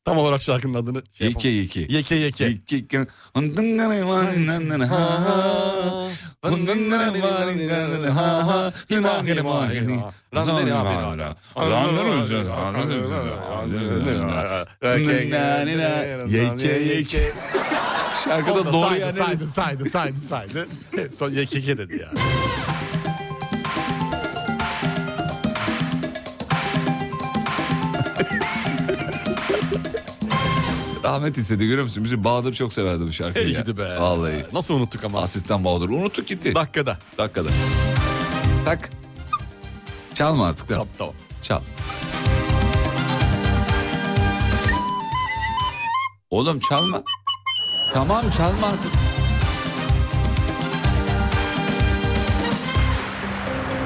Speaker 4: Tam olarak şarkının adını. şey
Speaker 3: Yeke
Speaker 4: yapamam.
Speaker 3: yeke.
Speaker 4: Yeke yeke.
Speaker 3: Yeke yeke. Ha ha. Yeke yeke. Şarkıda doğru yer neresi?
Speaker 4: saydı, saydı, saydı, saydı. Son yeke yeke dedi ya.
Speaker 3: Rahmet istedi görüyor musun? Bizi Bahadır çok severdi bu şarkıyı.
Speaker 4: İyi
Speaker 3: ya.
Speaker 4: gidi be.
Speaker 3: Vallahi.
Speaker 4: Nasıl unuttuk ama.
Speaker 3: Asistan Bahadır. Unuttuk gitti.
Speaker 4: Dakikada.
Speaker 3: Dakikada. Tak. Çalma artık. da.
Speaker 4: Tamam tamam.
Speaker 3: Çal. Oğlum çalma. Tamam çalma artık.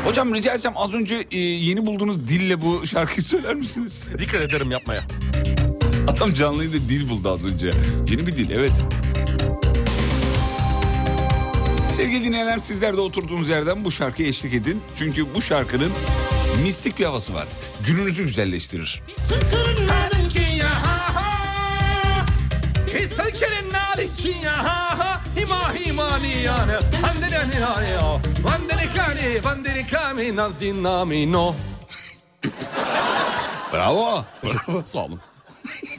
Speaker 3: Hocam rica etsem az önce e, yeni bulduğunuz dille bu şarkıyı söyler misiniz?
Speaker 4: Dikkat ederim yapmaya.
Speaker 3: Adam canlıydı dil buldu az önce. Yeni bir dil evet. Sevgili dinleyenler sizler de oturduğunuz yerden bu şarkıya eşlik edin. Çünkü bu şarkının mistik bir havası var. Gününüzü güzelleştirir. Bravo.
Speaker 4: Sağ olun.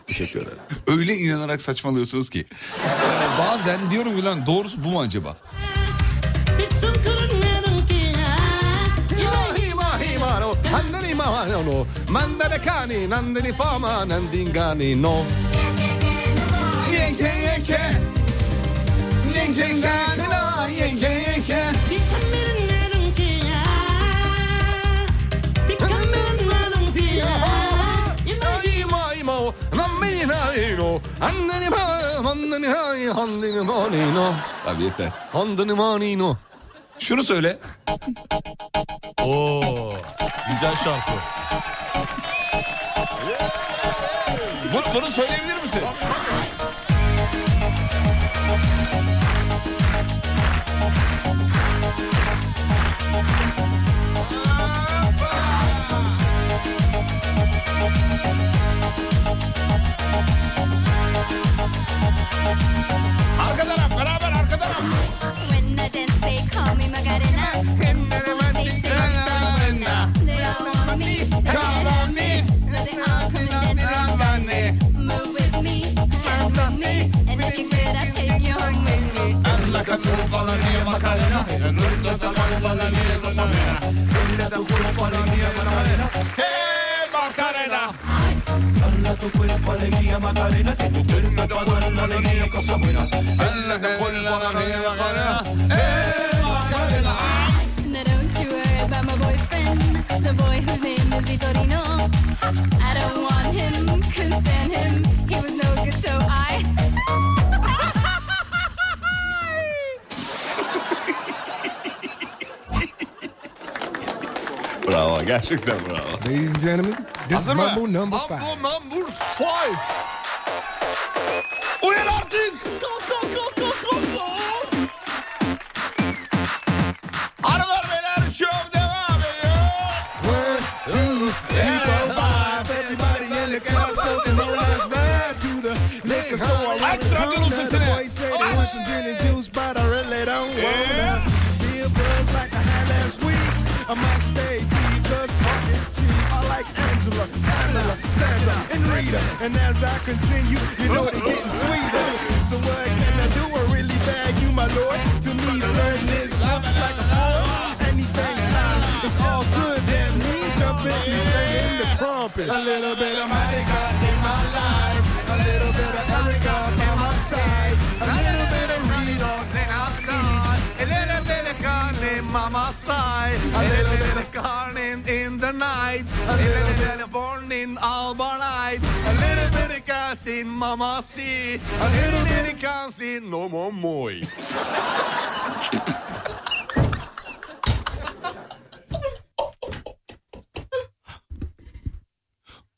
Speaker 4: Teşekkür ederim.
Speaker 3: Öyle inanarak saçmalıyorsunuz ki. Yani bazen diyorum ki lan doğrusu bu mu acaba? Abi yeter. Şunu söyle.
Speaker 4: Oo, güzel şarkı.
Speaker 3: Bunu, bunu söyleyebilir misin? Arka taraf beraber arka taraf.
Speaker 7: When I dance, they call me Macarena. And I know they say Madonna. They all want me,
Speaker 3: Call on me.
Speaker 7: so they all come and dance with me. Move with me, jump with me, and if you're good, I'll take you home with me. Now don't you worry about my boyfriend, the boy whose name is Vitorino. I don't want him, couldn't stand him, he was no good, so I.
Speaker 3: Bravo gerçekten bravo.
Speaker 12: Ladies and gentlemen, this
Speaker 3: Hazır
Speaker 12: is
Speaker 3: mı?
Speaker 12: Mambo number
Speaker 4: Mambo
Speaker 12: five.
Speaker 4: number five.
Speaker 3: Uyan artık. Arılar beyler şov devam ediyor.
Speaker 12: One, two, three, four, five. Everybody in the car, something on us. Ride to the liquor store. I wanna
Speaker 3: Aç radyonun
Speaker 12: come. Now the
Speaker 3: sesini.
Speaker 12: boys say they want some gin and juice, but I really don't
Speaker 3: Eh?
Speaker 12: wanna. Be a buzz like I had last week. I must stay because talk is cheap. I like Angela, Pamela, Sandra, and Rita. And as I continue, you know they're getting sweeter. So what can I do? I really bag you, my lord. To me, learning is just like a sport. Anything fine, it's all good. That means jumping, you singing the trumpet. A little bit of Monica in my life. A little bit of Erica by my side. A little bit of Rita. A little bit of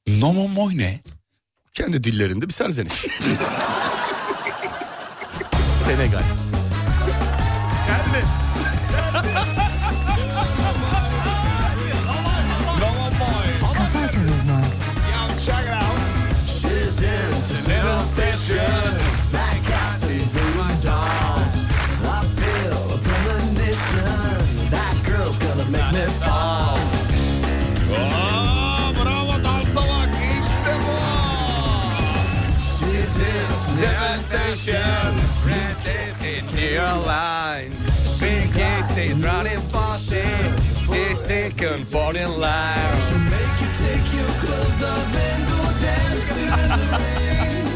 Speaker 3: Nomo moy ne?
Speaker 4: Kendi dillerinde bir serzeniş. Senegal.
Speaker 3: Nomo moy.
Speaker 12: sensation. Red days in your line. Big gate, they running fast. They taken for in line. So make you take your clothes off and go dancing in the rain.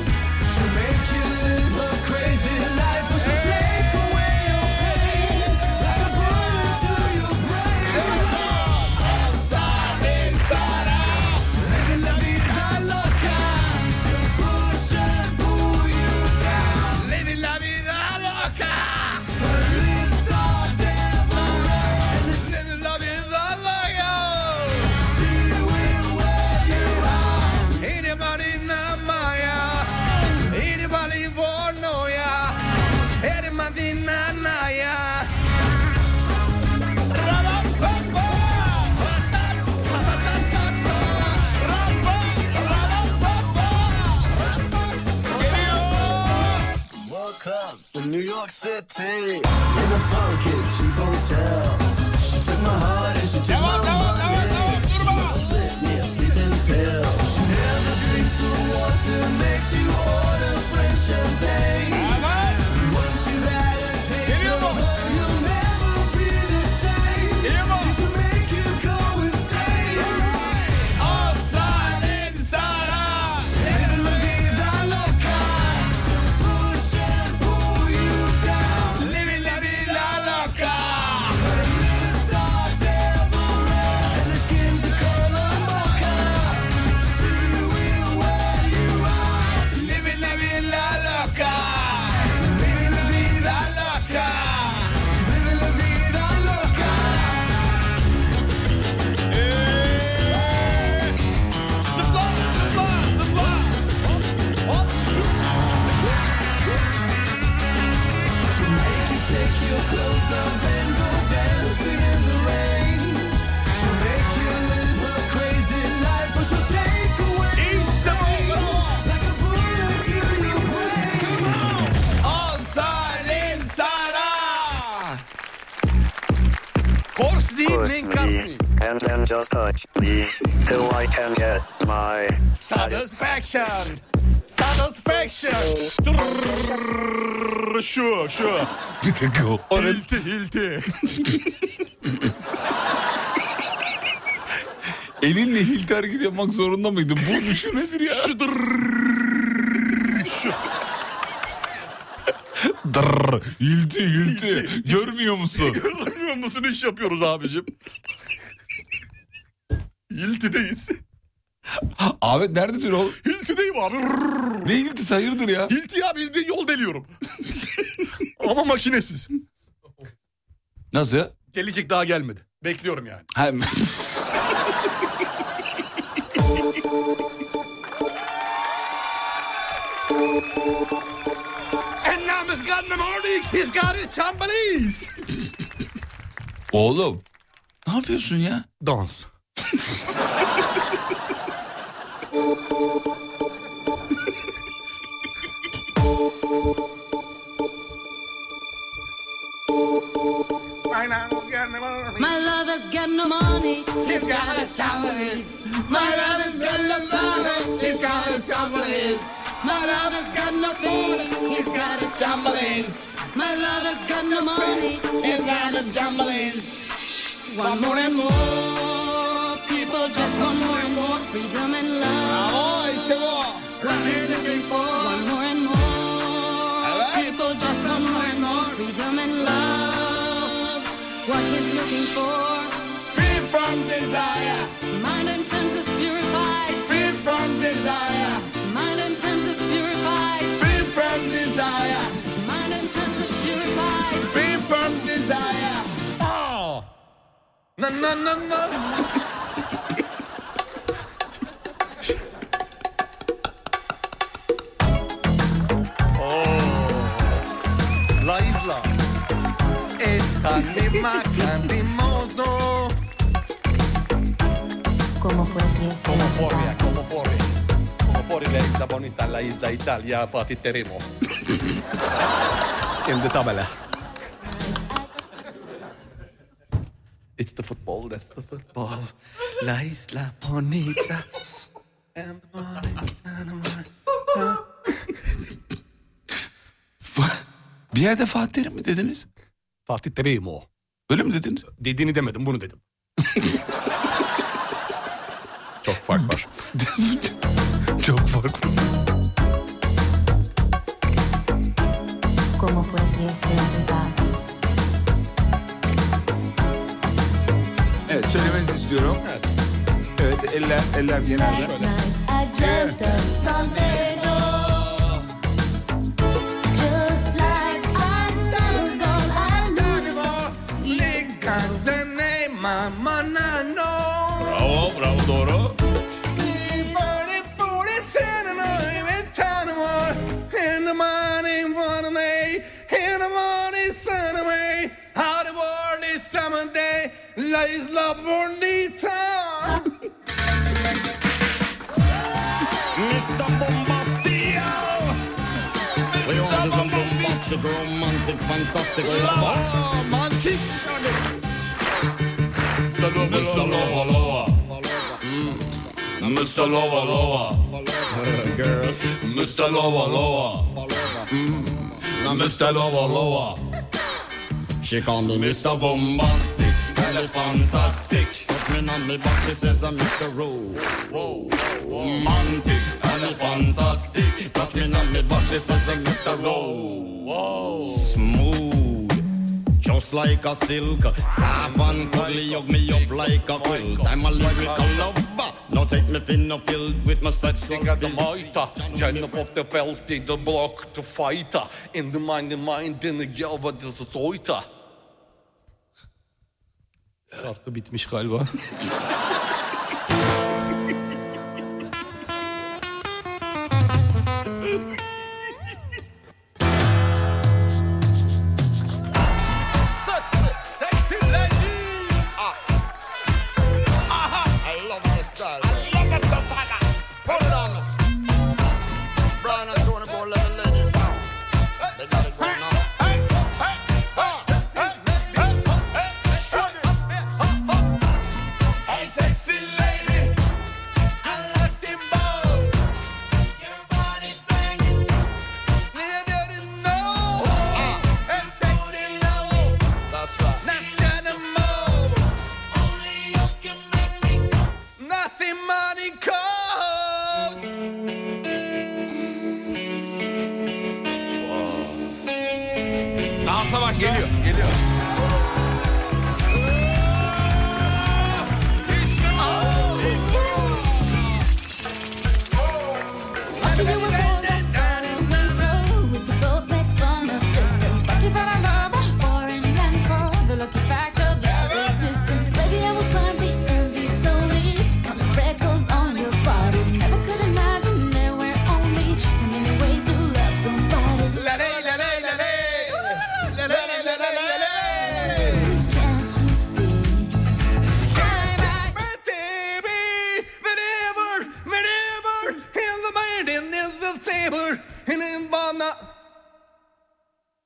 Speaker 12: So make you live a crazy life. But you take away your pain. Like a bullet to your brain. Outside, inside out. Living la vida loca. So push and pull you down. Living la vida loca. Her lips are devil red. Living la vida loca. She will wear you out. Anybody na maya. Anybody for no ya. Anybody na na ya.
Speaker 7: Woke up in New York City in a funky cheap hotel. She took my heart and she took my money. She must have slipped me a sleeping pill. She never drinks the water, makes you order French champagne. Once you've had a taste of her, you'll never be the same. She should make you go insane. Outside, inside, out. Living la vida loca. Push and pull you down. Living la vida loca. Her lips are devil red, and her skin's a color mocha. She will wear you out. Living la vida loca. Living la vida loca. She's living la vida loca. Zıpla, zıpla, zıpla. Hop, hop, şut, şut. So make you take your clothes off and go dancing in the rain. So make you live a crazy life, but she'll take away your pain. Like a bullet to your brain. Come on. Outside, inside, out.
Speaker 13: Push me and then just touch me till I can get my
Speaker 12: Satisfaction. Satisfaction.
Speaker 4: Şu şu.
Speaker 3: Bir dakika.
Speaker 4: Hilti hilti.
Speaker 3: Elinle hilti hareket yapmak zorunda mıydın? Bu şu nedir ya? Şu Dırr, hilti, hilti. Görmüyor musun?
Speaker 4: Görmüyor musun iş yapıyoruz abicim. Hilti'deyiz.
Speaker 3: Ahmet neredesin oğlum?
Speaker 4: Hilti'deyim abi.
Speaker 3: Ne hiltisi hayırdır ya?
Speaker 4: Hilti ya biz de yol deliyorum. Ama makinesiz.
Speaker 3: Nasıl?
Speaker 4: Gelecek daha gelmedi. Bekliyorum yani.
Speaker 3: Hem...
Speaker 12: And now he's got in the morning. He's got his chambalese.
Speaker 3: Oğlum. Ne yapıyorsun ya?
Speaker 4: Dans.
Speaker 14: My lover's got no money, he's got his chocolates. My lover's got no money, he's got his chocolates. My lover's got no fame, he's got his chocolates. My lover's got no money, he's got his chocolates. One more and more people just want more and more freedom and love. What is looking for? One more and more people just want more and more freedom and love. What is looking for? Free from desire. Mind and senses purified. Free from desire. Mind and senses purified. Free from desire. Mind and senses purified. Free from desire.
Speaker 12: Oh. Na na na na. Oh.
Speaker 4: Live la.
Speaker 12: Esta anima canimoso.
Speaker 14: Como fue
Speaker 12: Como porre, como porre. Como porre la isla bonita, la isla Italia, patiteremo. In the tabela. It's the football, that's the football. La isla bonita. And the morning sun, and my-
Speaker 3: bir yerde Fatih Terim mi dediniz?
Speaker 4: Fatih Terim o.
Speaker 3: Öyle mi dediniz?
Speaker 4: Dediğini demedim bunu dedim. Çok fark var.
Speaker 3: Çok fark var.
Speaker 15: ¿Cómo podrías olvidar?
Speaker 3: Evet söylemenizi istiyorum. Evet. Evet eller eller genelde.
Speaker 10: I dreamt of something just like I knew it all. I knew this.
Speaker 12: Because the name of my nano.
Speaker 3: Bravo bravo doğru.
Speaker 12: Lies la bonita
Speaker 7: Mr. Bombastio Mr. Bombastic, romantic, fantastic Oh. Romantic
Speaker 3: Mr. Lova Lova. Mr. Lova Lova. Girl. Mr. Lova Lova. Hmm.
Speaker 7: Mr. Lova Lova She called me Mr. Bombastic Tell her fantastic Puts me on me back, she says I'm Mr. Roo Romantic, and me fantastic Touch me on me back, she says I'm Mr. Roo Smooth just like a silk, soft and cuddly, hug me up like a quilt. I'm a lyrical lover. Now take me thin, now filled with my sexual
Speaker 12: the mitre, Jenna pop the belt in the block to fight her. In the mind, the mind, in the gelva, this is oita.
Speaker 4: Şarkı bitmiş galiba.
Speaker 7: Sexy, sexy lady. Art. Aha. I love the style. I love the style. Hold on. Brian and Tony Boy, let the ladies down. They got it going on. Hey, sexy lady, I like them both. Your body's banging, and I didn't know. Hey, sexy lady. That's right.
Speaker 12: Nothing money costs.
Speaker 3: Dansa başla. Geliyor geliyor.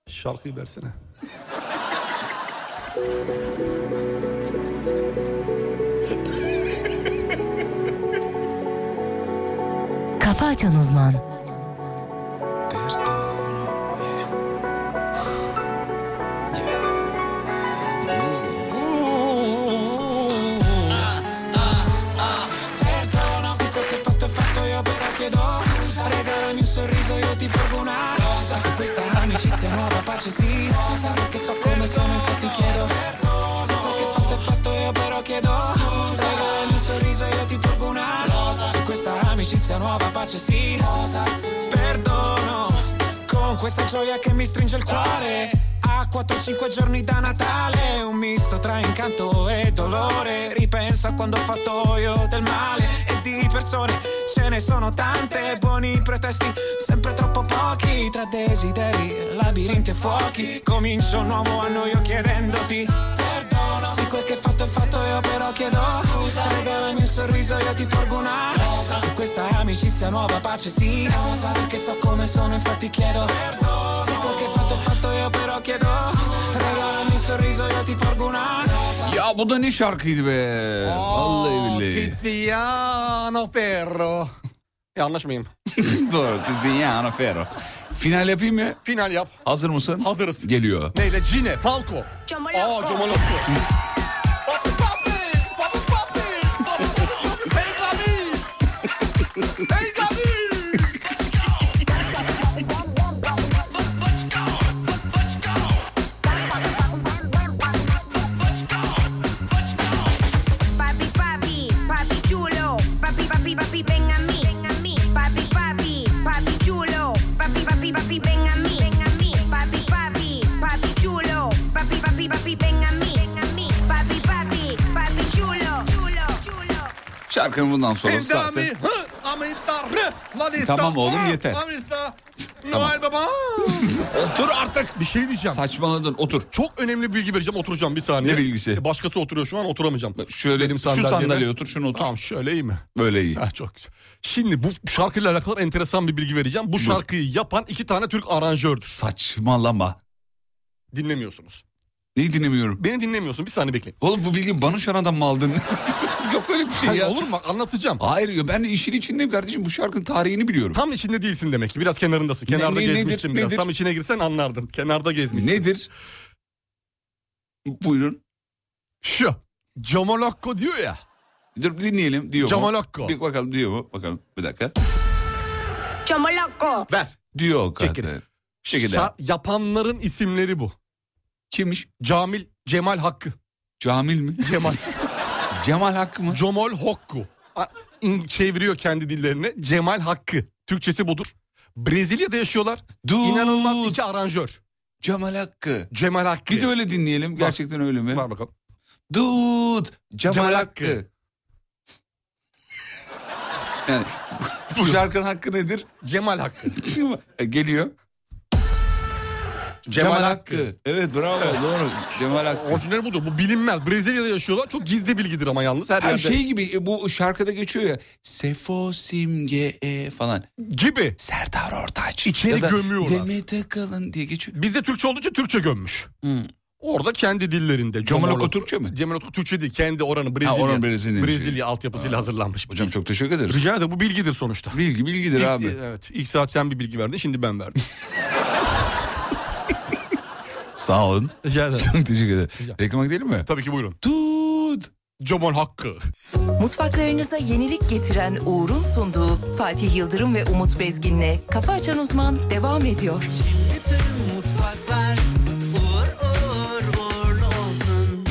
Speaker 4: Şarkıyı versene.
Speaker 1: Kafa Açan Uzman.
Speaker 8: Perdona se quel che fatto è fatto io perché chiedo Scusa regalami un sorriso io ti porgo una rosa Su questa amicizia nuova pace sì Rosa perché so come sono infatti chiedo Perdono Se quel che fatto è fatto io però chiedo Scusa regalami un sorriso io ti porgo una rosa Su questa amicizia nuova pace sì Rosa Perdono Con questa gioia che mi stringe il cuore a 4-5 giorni da Natale, un misto tra incanto e dolore. Ripenso a quando ho fatto io del male e di persone ce ne sono tante. Buoni pretesti, sempre troppo pochi. Tra desideri, labirinti e fuochi. Comincio un nuovo anno io chiedendoti. perdono Se quel che è fatto è fatto io però chiedo Scusa Regalami un sorriso io ti porgo una rosa Su questa amicizia nuova pace sì Rosa Perché so come sono infatti chiedo perdono Se quel che è fatto è fatto io però chiedo Regalami un sorriso io ti porgo una rosa
Speaker 3: Ya bu da ne şarkıydı be. Vallahi billahi.
Speaker 12: E,
Speaker 4: Tiziano Ferro. Yanlış mıyım?
Speaker 3: Doğru. Tiziano Ferro. Final yapayım mı?
Speaker 4: Final yap.
Speaker 3: Hazır mısın? Hazırız. Geliyor.
Speaker 4: Neyle? Cine, Falco. Aa, Comalakko.
Speaker 16: Papi, papi, papi chulo. Papi, papi, papi, ven a mí. Ven a mí. Papi, papi, papi chulo. Papi, papi, papi, ven a mí. Ven a mí. Papi, papi, papi chulo. Papi, papi, papi, ven a mí. Ven a mí. Papi, papi, papi chulo. Chulo.
Speaker 3: Şarkının bundan sonra
Speaker 4: Pindami,
Speaker 3: zaten.
Speaker 4: hı, amita, rı, lanita,
Speaker 3: Tamam oğlum,
Speaker 4: hı,
Speaker 3: yeter.
Speaker 4: amita,
Speaker 3: Tamam.
Speaker 4: Noel Baba.
Speaker 3: Otur artık.
Speaker 4: Bir şey diyeceğim.
Speaker 3: Saçmaladın otur.
Speaker 4: Çok önemli bilgi vereceğim oturacağım bir saniye. E,
Speaker 3: Ne bilgisi?
Speaker 4: Başkası oturuyor şu an oturamayacağım.
Speaker 3: Şöyle
Speaker 4: Benim
Speaker 3: şu
Speaker 4: sandalyeme.
Speaker 3: sandalyeye otur şunu otur.
Speaker 4: Tamam şöyle iyi mi?
Speaker 3: Böyle iyi.
Speaker 4: Ha, çok güzel. Şimdi bu şarkıyla alakalı enteresan bir bilgi vereceğim. Bu şarkıyı yapan iki tane Türk aranjördür.
Speaker 3: Saçmalama.
Speaker 4: Dinlemiyorsunuz.
Speaker 3: Neyi dinlemiyorum?
Speaker 4: Beni dinlemiyorsun bir saniye bekleyin.
Speaker 3: Oğlum bu bilgiyi bana şu adam mı aldın? Yok öyle bir şey
Speaker 4: Hayır,
Speaker 3: ya.
Speaker 4: olur mu? Bak, Anlatacağım.
Speaker 3: Hayır ya ben işin içindeyim kardeşim bu şarkının tarihini biliyorum.
Speaker 4: Tam içinde değilsin demek ki. Biraz kenarındasın.
Speaker 3: Ne-
Speaker 4: Kenarda
Speaker 3: ne- nedir,
Speaker 4: gezmişsin biraz.
Speaker 3: nedir?
Speaker 4: Tam içine girsen anlardın. Kenarda gezmişsin.
Speaker 3: Nedir? Buyurun.
Speaker 4: Şu. Camolakko diyor ya.
Speaker 3: Dur dinleyelim diyor mu?
Speaker 4: Camalakko.
Speaker 3: Bir bakalım diyor mu? Bakalım bir dakika.
Speaker 16: Chomoloco.
Speaker 4: Ver.
Speaker 3: Diyor o kadar. Şekilde.
Speaker 4: Şa- yapanların isimleri bu.
Speaker 3: Kimmiş?
Speaker 4: Camil Cemal Hakkı.
Speaker 3: Camil mi?
Speaker 4: Cemal.
Speaker 3: Cemal Hakkı mı?
Speaker 4: Comol Hokku. A- in- Çeviriyor kendi dillerine. Cemal Hakkı. Türkçesi budur. Brezilya'da yaşıyorlar. İnanılmaz iki aranjör.
Speaker 3: Cemal Hakkı.
Speaker 4: Cemal Hakkı.
Speaker 3: Bir de öyle dinleyelim. Gerçekten öyle mi?
Speaker 4: Var bakalım.
Speaker 3: Dud Cemal,
Speaker 4: Cemal
Speaker 3: Hakkı.
Speaker 4: Hakkı.
Speaker 3: yani bu şarkının hakkı nedir?
Speaker 4: Cemal Hakkı.
Speaker 3: E, Geliyor.
Speaker 4: Cemal
Speaker 3: Evet bravo doğru. Cemal Hakkı.
Speaker 4: Orijinal budur. Bu bilinmez. Brezilya'da yaşıyorlar. Çok gizli bilgidir ama yalnız. Her
Speaker 3: Ha,
Speaker 4: yerde.
Speaker 3: şey gibi e, bu şarkıda geçiyor ya. Sefo simge e falan.
Speaker 4: Gibi.
Speaker 3: Serdar Ortaç.
Speaker 4: İçeri
Speaker 3: Ya da
Speaker 4: gömüyorlar.
Speaker 3: Demet Akalın diye geçiyor.
Speaker 4: Bizde Türkçe olduğu için Türkçe gömmüş. Orada kendi dillerinde.
Speaker 3: Hmm. Cemal Hakkı
Speaker 4: Comol-
Speaker 3: Türkçe mi?
Speaker 4: Cemal Hakkı Türkçe değil. Kendi oranın Brezilya.
Speaker 3: oranın Brezilya'nın
Speaker 4: Brezilya
Speaker 3: şeyi.
Speaker 4: altyapısıyla hazırlanmış.
Speaker 3: Hocam çok teşekkür ederiz.
Speaker 4: Rica ederim. Bu bilgidir sonuçta.
Speaker 3: Bilgi bilgidir
Speaker 4: İlk-
Speaker 3: abi.
Speaker 4: Evet. İlk saat sen bir bilgi verdin. Şimdi ben verdim.
Speaker 3: Sağ olun.
Speaker 4: Rica ederim.
Speaker 3: Çok teşekkür ederim. Reklama gidelim mi?
Speaker 4: Tabii ki buyurun.
Speaker 3: Tut.
Speaker 4: Cemal Hakkı.
Speaker 1: Mutfaklarınıza yenilik getiren Uğur'un sunduğu Fatih Yıldırım ve Umut Bezgin'le Kafa Açan Uzman devam ediyor.
Speaker 9: Bütün mutfaklar uğur uğur uğurlu olsun.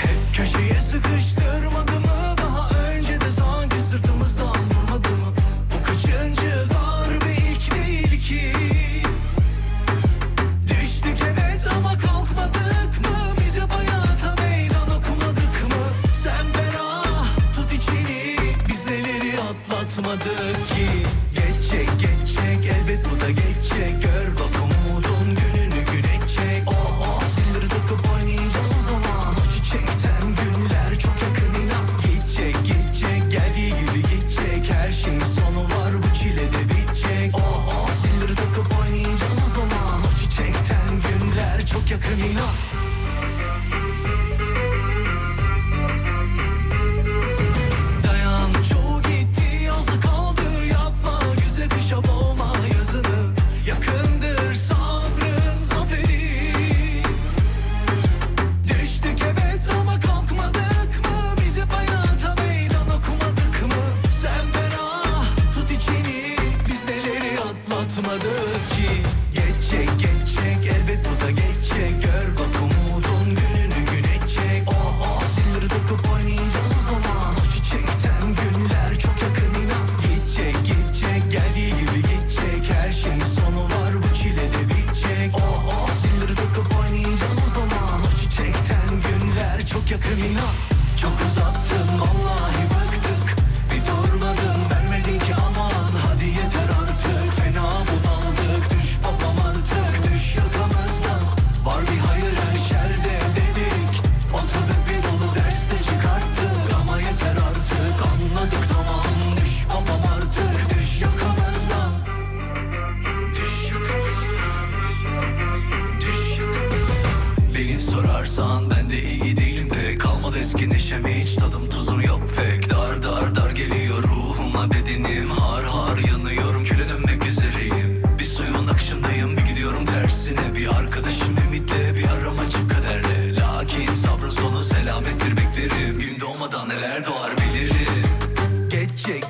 Speaker 2: Hep köşeye sıkıştırmadı mı Daha önce de sanki sırtımızdan vurmadı mı Bu kaçıncı darbe ilk değil ki Düştük evet ama kalkmadık mı Bize hayata meydan okumadık mı Sen ben ah tut içini Biz neleri atlatmadık ki Geçecek geçecek elbet bu da geçecek Gör bak umudum
Speaker 17: ah,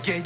Speaker 2: Oh,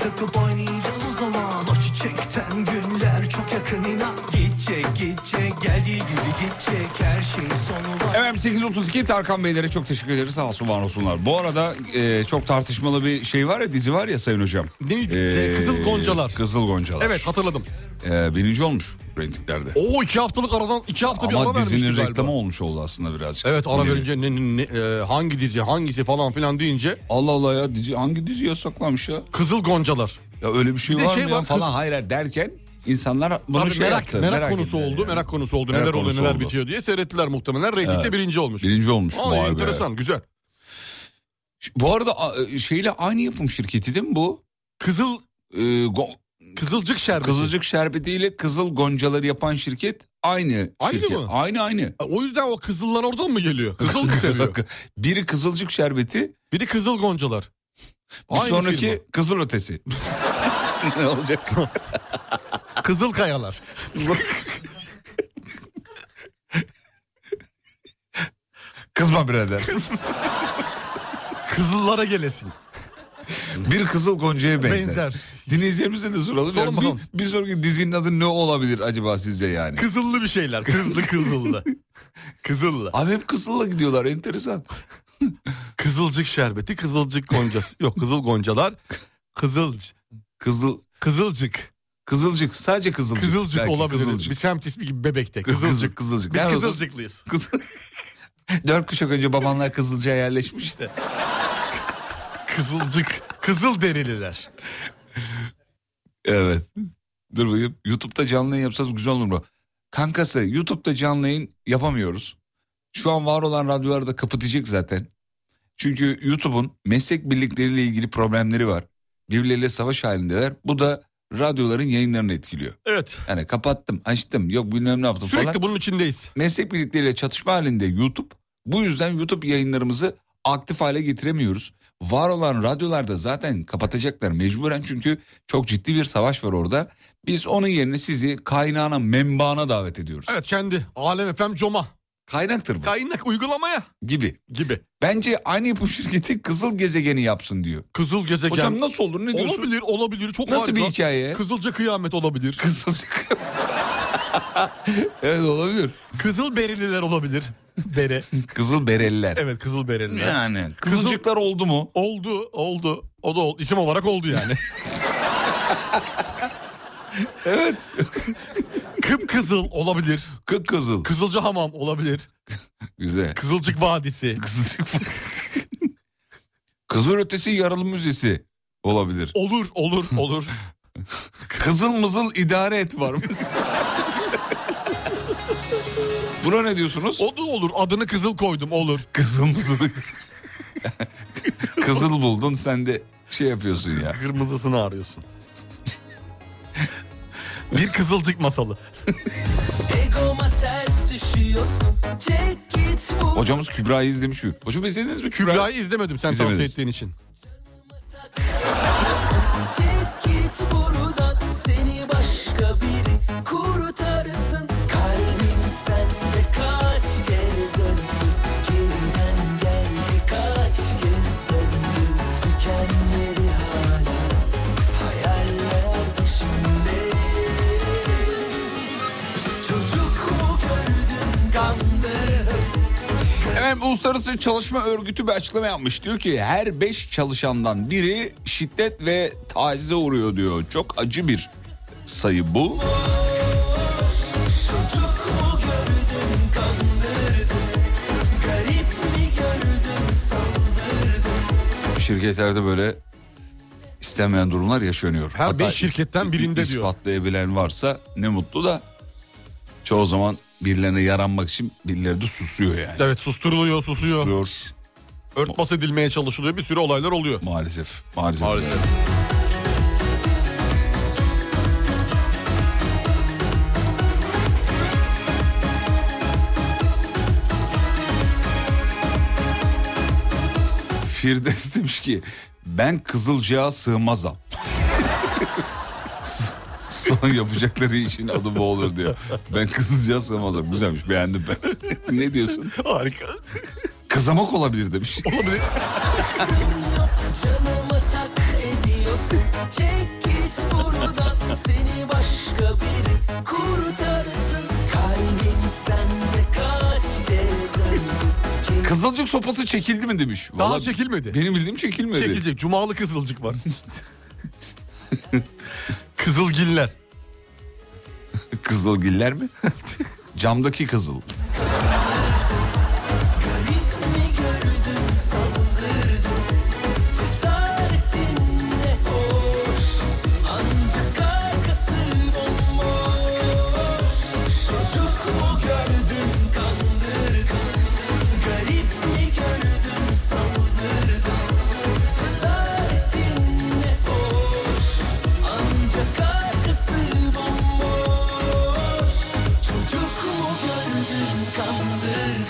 Speaker 2: Kalkıp oynayacağız o zaman O çiçekten günler çok yakın inan Gidecek gidecek geldiği gibi gidecek Her şeyin sonu var
Speaker 3: Efendim 832 Tarkan Beylere çok teşekkür ederiz. Sağ olsun var olsunlar. Bu arada e, çok tartışmalı bir şey var ya dizi var ya Sayın Hocam.
Speaker 4: Neydi? Şey,
Speaker 3: E,
Speaker 4: Kızıl Goncalar.
Speaker 3: Kızıl Goncalar.
Speaker 4: Evet hatırladım.
Speaker 3: E, birinci olmuş reytinglerde.
Speaker 4: Oo iki haftalık aradan iki hafta bir ara
Speaker 3: Ama
Speaker 4: vermişti
Speaker 3: dizinin
Speaker 4: galiba.
Speaker 3: reklamı olmuş oldu aslında birazcık.
Speaker 4: Evet ara
Speaker 3: Yine-
Speaker 4: verince ne- ne- ne- e, hangi dizi hangisi falan filan deyince.
Speaker 3: Allah Allah ya dizi hangi dizi yasaklamış ya?
Speaker 4: Kızıl Goncalar.
Speaker 3: Ya öyle bir şey
Speaker 4: Bir de
Speaker 3: var
Speaker 4: şey
Speaker 3: mı ya
Speaker 4: var, kız-
Speaker 3: falan hayır hayır derken insanlar bunu
Speaker 4: Tabii
Speaker 3: şey
Speaker 4: merak,
Speaker 3: yaptı.
Speaker 4: merak, konusu
Speaker 3: ettiler
Speaker 4: oldu,
Speaker 3: yani.
Speaker 4: merak konusu oldu.
Speaker 3: Merak
Speaker 4: neler oluyor,
Speaker 3: konusu
Speaker 4: neler
Speaker 3: oldu.
Speaker 4: bitiyor diye seyrettiler muhtemelen. Reytingde
Speaker 3: Evet.
Speaker 4: birinci olmuş.
Speaker 3: Birinci olmuş.
Speaker 4: Aa,
Speaker 3: Vay be.
Speaker 4: enteresan, güzel.
Speaker 3: Bu arada a- e, şeyle aynı yapım şirketi değil mi bu? E,
Speaker 4: Kızıl
Speaker 3: Kızılcık şerbeti. Kızılcık şerbetiyle kızıl goncaları yapan şirket aynı
Speaker 4: Aynı
Speaker 3: şirket.
Speaker 4: mı?
Speaker 3: Aynı aynı.
Speaker 4: O yüzden o kızıllar oradan mı geliyor? Kızıl mı seviyor?
Speaker 3: Biri kızılcık şerbeti.
Speaker 4: Biri kızıl goncalar.
Speaker 3: Bir
Speaker 4: Aynı
Speaker 3: sonraki
Speaker 4: firma.
Speaker 3: kızıl ötesi. ne olacak?
Speaker 4: Kızıl kayalar.
Speaker 3: Kızma birader.
Speaker 4: Kızıllara gelesin.
Speaker 3: Bir kızıl goncaya benzer.
Speaker 4: Benzer.
Speaker 3: Dinleyicilerimize de soralım.
Speaker 4: Sorun
Speaker 3: Yani
Speaker 4: bakalım.
Speaker 3: bir, bir sonraki dizinin adı ne olabilir acaba sizce yani?
Speaker 4: Kızıllı bir şeyler. Kızlı kızıllı. kızıllı.
Speaker 3: Abi hep kızılla gidiyorlar enteresan.
Speaker 4: Kızılcık şerbeti, kızılcık goncası. Yok kızıl goncalar. Kızıl.
Speaker 3: Kızıl.
Speaker 4: Kızılcık.
Speaker 3: Kızılcık. Sadece kızılcık.
Speaker 4: Kızılcık
Speaker 3: Belki
Speaker 4: olabilir.
Speaker 3: kızılcık.
Speaker 4: Biz semt ismi gibi bebekte.
Speaker 3: Kız-
Speaker 4: Kızılcık.
Speaker 3: kızıl- kızılcık.
Speaker 4: Biz
Speaker 3: Nerede o?
Speaker 4: kızılcıklıyız.
Speaker 3: Dört kuşak önce babamlar Kızılcık'a yerleşmiş de.
Speaker 4: Kızılcık. Kızıl derililer.
Speaker 3: Evet. Dur bakayım. YouTube'da canlı yayın yapsanız güzel olur mu? Kankası YouTube'da canlı yayın yapamıyoruz. Şu an var olan radyoları da kapatacak zaten. Çünkü YouTube'un meslek birlikleriyle ilgili problemleri var. Birbirleriyle savaş halindeler. Bu da radyoların yayınlarını etkiliyor.
Speaker 4: Evet.
Speaker 3: Yani kapattım, açtım, yok bilmem ne yaptım
Speaker 4: Sürekli
Speaker 3: falan.
Speaker 4: bunun içindeyiz.
Speaker 3: Meslek birlikleriyle çatışma halinde YouTube. Bu yüzden YouTube yayınlarımızı aktif hale getiremiyoruz. Var olan radyolarda zaten kapatacaklar mecburen çünkü çok ciddi bir savaş var orada. Biz onun yerine sizi kaynağına, menbaana davet ediyoruz.
Speaker 4: Evet kendi. Alem FM Coma.
Speaker 3: Kaynaktır bu.
Speaker 4: Kaynak uygulamaya.
Speaker 3: Gibi.
Speaker 4: Gibi.
Speaker 3: Bence aynı yapım şirketi kızıl gezegeni yapsın diyor.
Speaker 4: Kızıl gezegen.
Speaker 3: Hocam nasıl olur ne diyorsun?
Speaker 4: Olabilir olabilir. Çok
Speaker 3: Nasıl
Speaker 4: harika.
Speaker 3: bir hikaye?
Speaker 4: Kızılca kıyamet olabilir.
Speaker 3: Kızılca evet olabilir.
Speaker 4: Kızıl berililer olabilir. Bere.
Speaker 3: Kızıl bereliler.
Speaker 4: Evet kızıl bereliler.
Speaker 3: Yani kızılcıklar oldu mu?
Speaker 4: Oldu oldu. O da oldu. isim olarak oldu yani.
Speaker 3: evet.
Speaker 4: Kıpkızıl olabilir.
Speaker 3: Kıpkızıl.
Speaker 4: Kızılca hamam olabilir.
Speaker 3: Güzel.
Speaker 4: Kızılcık Vadisi.
Speaker 3: Kızılcık Kızıl ötesi yaralı müzesi olabilir.
Speaker 4: Olur olur olur.
Speaker 3: Kızıl mızıl idare et var mı? Buna ne diyorsunuz?
Speaker 4: O da olur. Adını kızıl koydum olur.
Speaker 3: Kızıl mızıl. Kızıl buldun sen de şey yapıyorsun ya.
Speaker 4: Kırmızısını arıyorsun. Bir kızılcık masalı.
Speaker 11: Egoma ters düşüyorsun Çek git bu
Speaker 3: Hocamız Kübra'yı izlemiş mi? Hocam izlediniz mi Kübra'yı?
Speaker 4: Kübra'yı izlemedim sen
Speaker 3: İzlemediniz.
Speaker 4: tavsiye ettiğin için.
Speaker 11: Çek git buradan Seni başka biri kurtarsın Kalbim sende kaç kez öldü Geriden geldi kaç kez döndü Tükenmedi hala Hayaller peşinde Çocuk mu gördün kandırıp
Speaker 3: Evet Uluslararası Çalışma Örgütü bir açıklama yapmış. Diyor ki her 5 çalışandan biri şiddet ve tacize uğruyor diyor. Çok acı bir sayı bu. Şirketlerde böyle istenmeyen durumlar yaşanıyor.
Speaker 4: Her beş şirketten birinde
Speaker 3: ispatlayabilen
Speaker 4: diyor.
Speaker 3: İspatlayabilen varsa ne mutlu da çoğu zaman birilerine yaranmak için birileri de susuyor yani.
Speaker 4: Evet susturuluyor susuyor.
Speaker 3: Susuyor.
Speaker 4: Örtbas edilmeye çalışılıyor bir sürü olaylar oluyor.
Speaker 3: Maalesef. Maalesef. Firdevs demiş ki ben Kızılcığa sığmazam. Son yapacakları işin adı bu olur diyor. Ben Kızılcığa sığmazam. Güzelmiş beğendim ben. ne diyorsun?
Speaker 4: Harika.
Speaker 3: Kızamak olabilir demiş.
Speaker 11: Canıma tak ediyor parası Çek git buradan Seni başka biri kurtarsın Kalbim sende kaç kez öldü
Speaker 3: Kızılcık sopası çekildi mi demiş.
Speaker 4: Daha
Speaker 3: Vallahi
Speaker 4: çekilmedi.
Speaker 3: Benim bildiğim çekilmedi.
Speaker 4: Çekilecek. Cumalı kızılcık var. Kızılgiller.
Speaker 3: Kızılgiller mi? Camdaki kızıl.
Speaker 11: Gördün sandırdın Cesaretinle koş Ancak arkası bomboş Çocuk mu gördün kandırdın Garip mi gördün sandırdın Cesaretinle koş Ancak arkası bomboş Çocuk mu gördün kandırdın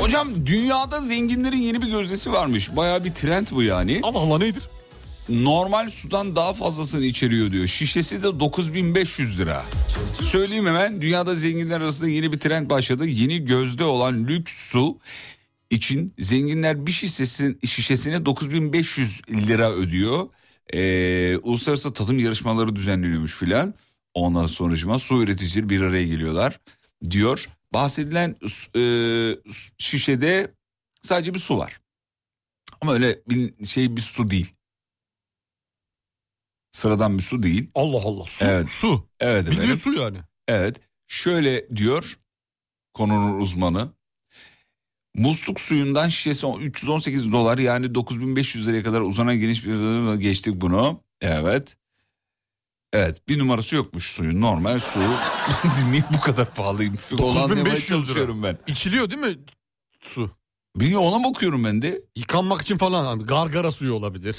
Speaker 3: Hocam dünyada zenginlerin yeni bir gözdesi varmış. Baya bir trend bu yani.
Speaker 4: Allah Allah nedir?
Speaker 3: Normal sudan daha fazlasını içeriyor diyor. Şişesi de 9500 lira. Söyleyeyim hemen dünyada zenginler arasında yeni bir trend başladı. Yeni gözde olan lüks su için zenginler bir şişesin, şişesine 9500 lira ödüyor. Ee, uluslararası tadım yarışmaları düzenleniyormuş filan. Ondan sonracıma su üreticileri bir araya geliyorlar diyor. Bahsedilen e, şişede sadece bir su var. Ama öyle bir şey bir su değil. Sıradan bir su değil.
Speaker 4: Allah Allah su.
Speaker 3: Evet.
Speaker 4: Su.
Speaker 3: Evet
Speaker 4: Bildiğin
Speaker 3: efendim.
Speaker 4: su yani.
Speaker 3: Evet. Şöyle diyor konunun uzmanı. Musluk suyundan şişesi 318 dolar yani 9500 liraya kadar uzanan geniş bir geçtik bunu. Evet. Evet bir numarası yokmuş suyun normal su. Niye bu kadar pahalıymış? Onu anlamaya
Speaker 4: 9500 lira.
Speaker 3: çalışıyorum ben.
Speaker 4: İçiliyor değil mi su?
Speaker 3: Bilmiyorum ona bakıyorum ben de.
Speaker 4: Yıkanmak için falan abi gargara suyu olabilir.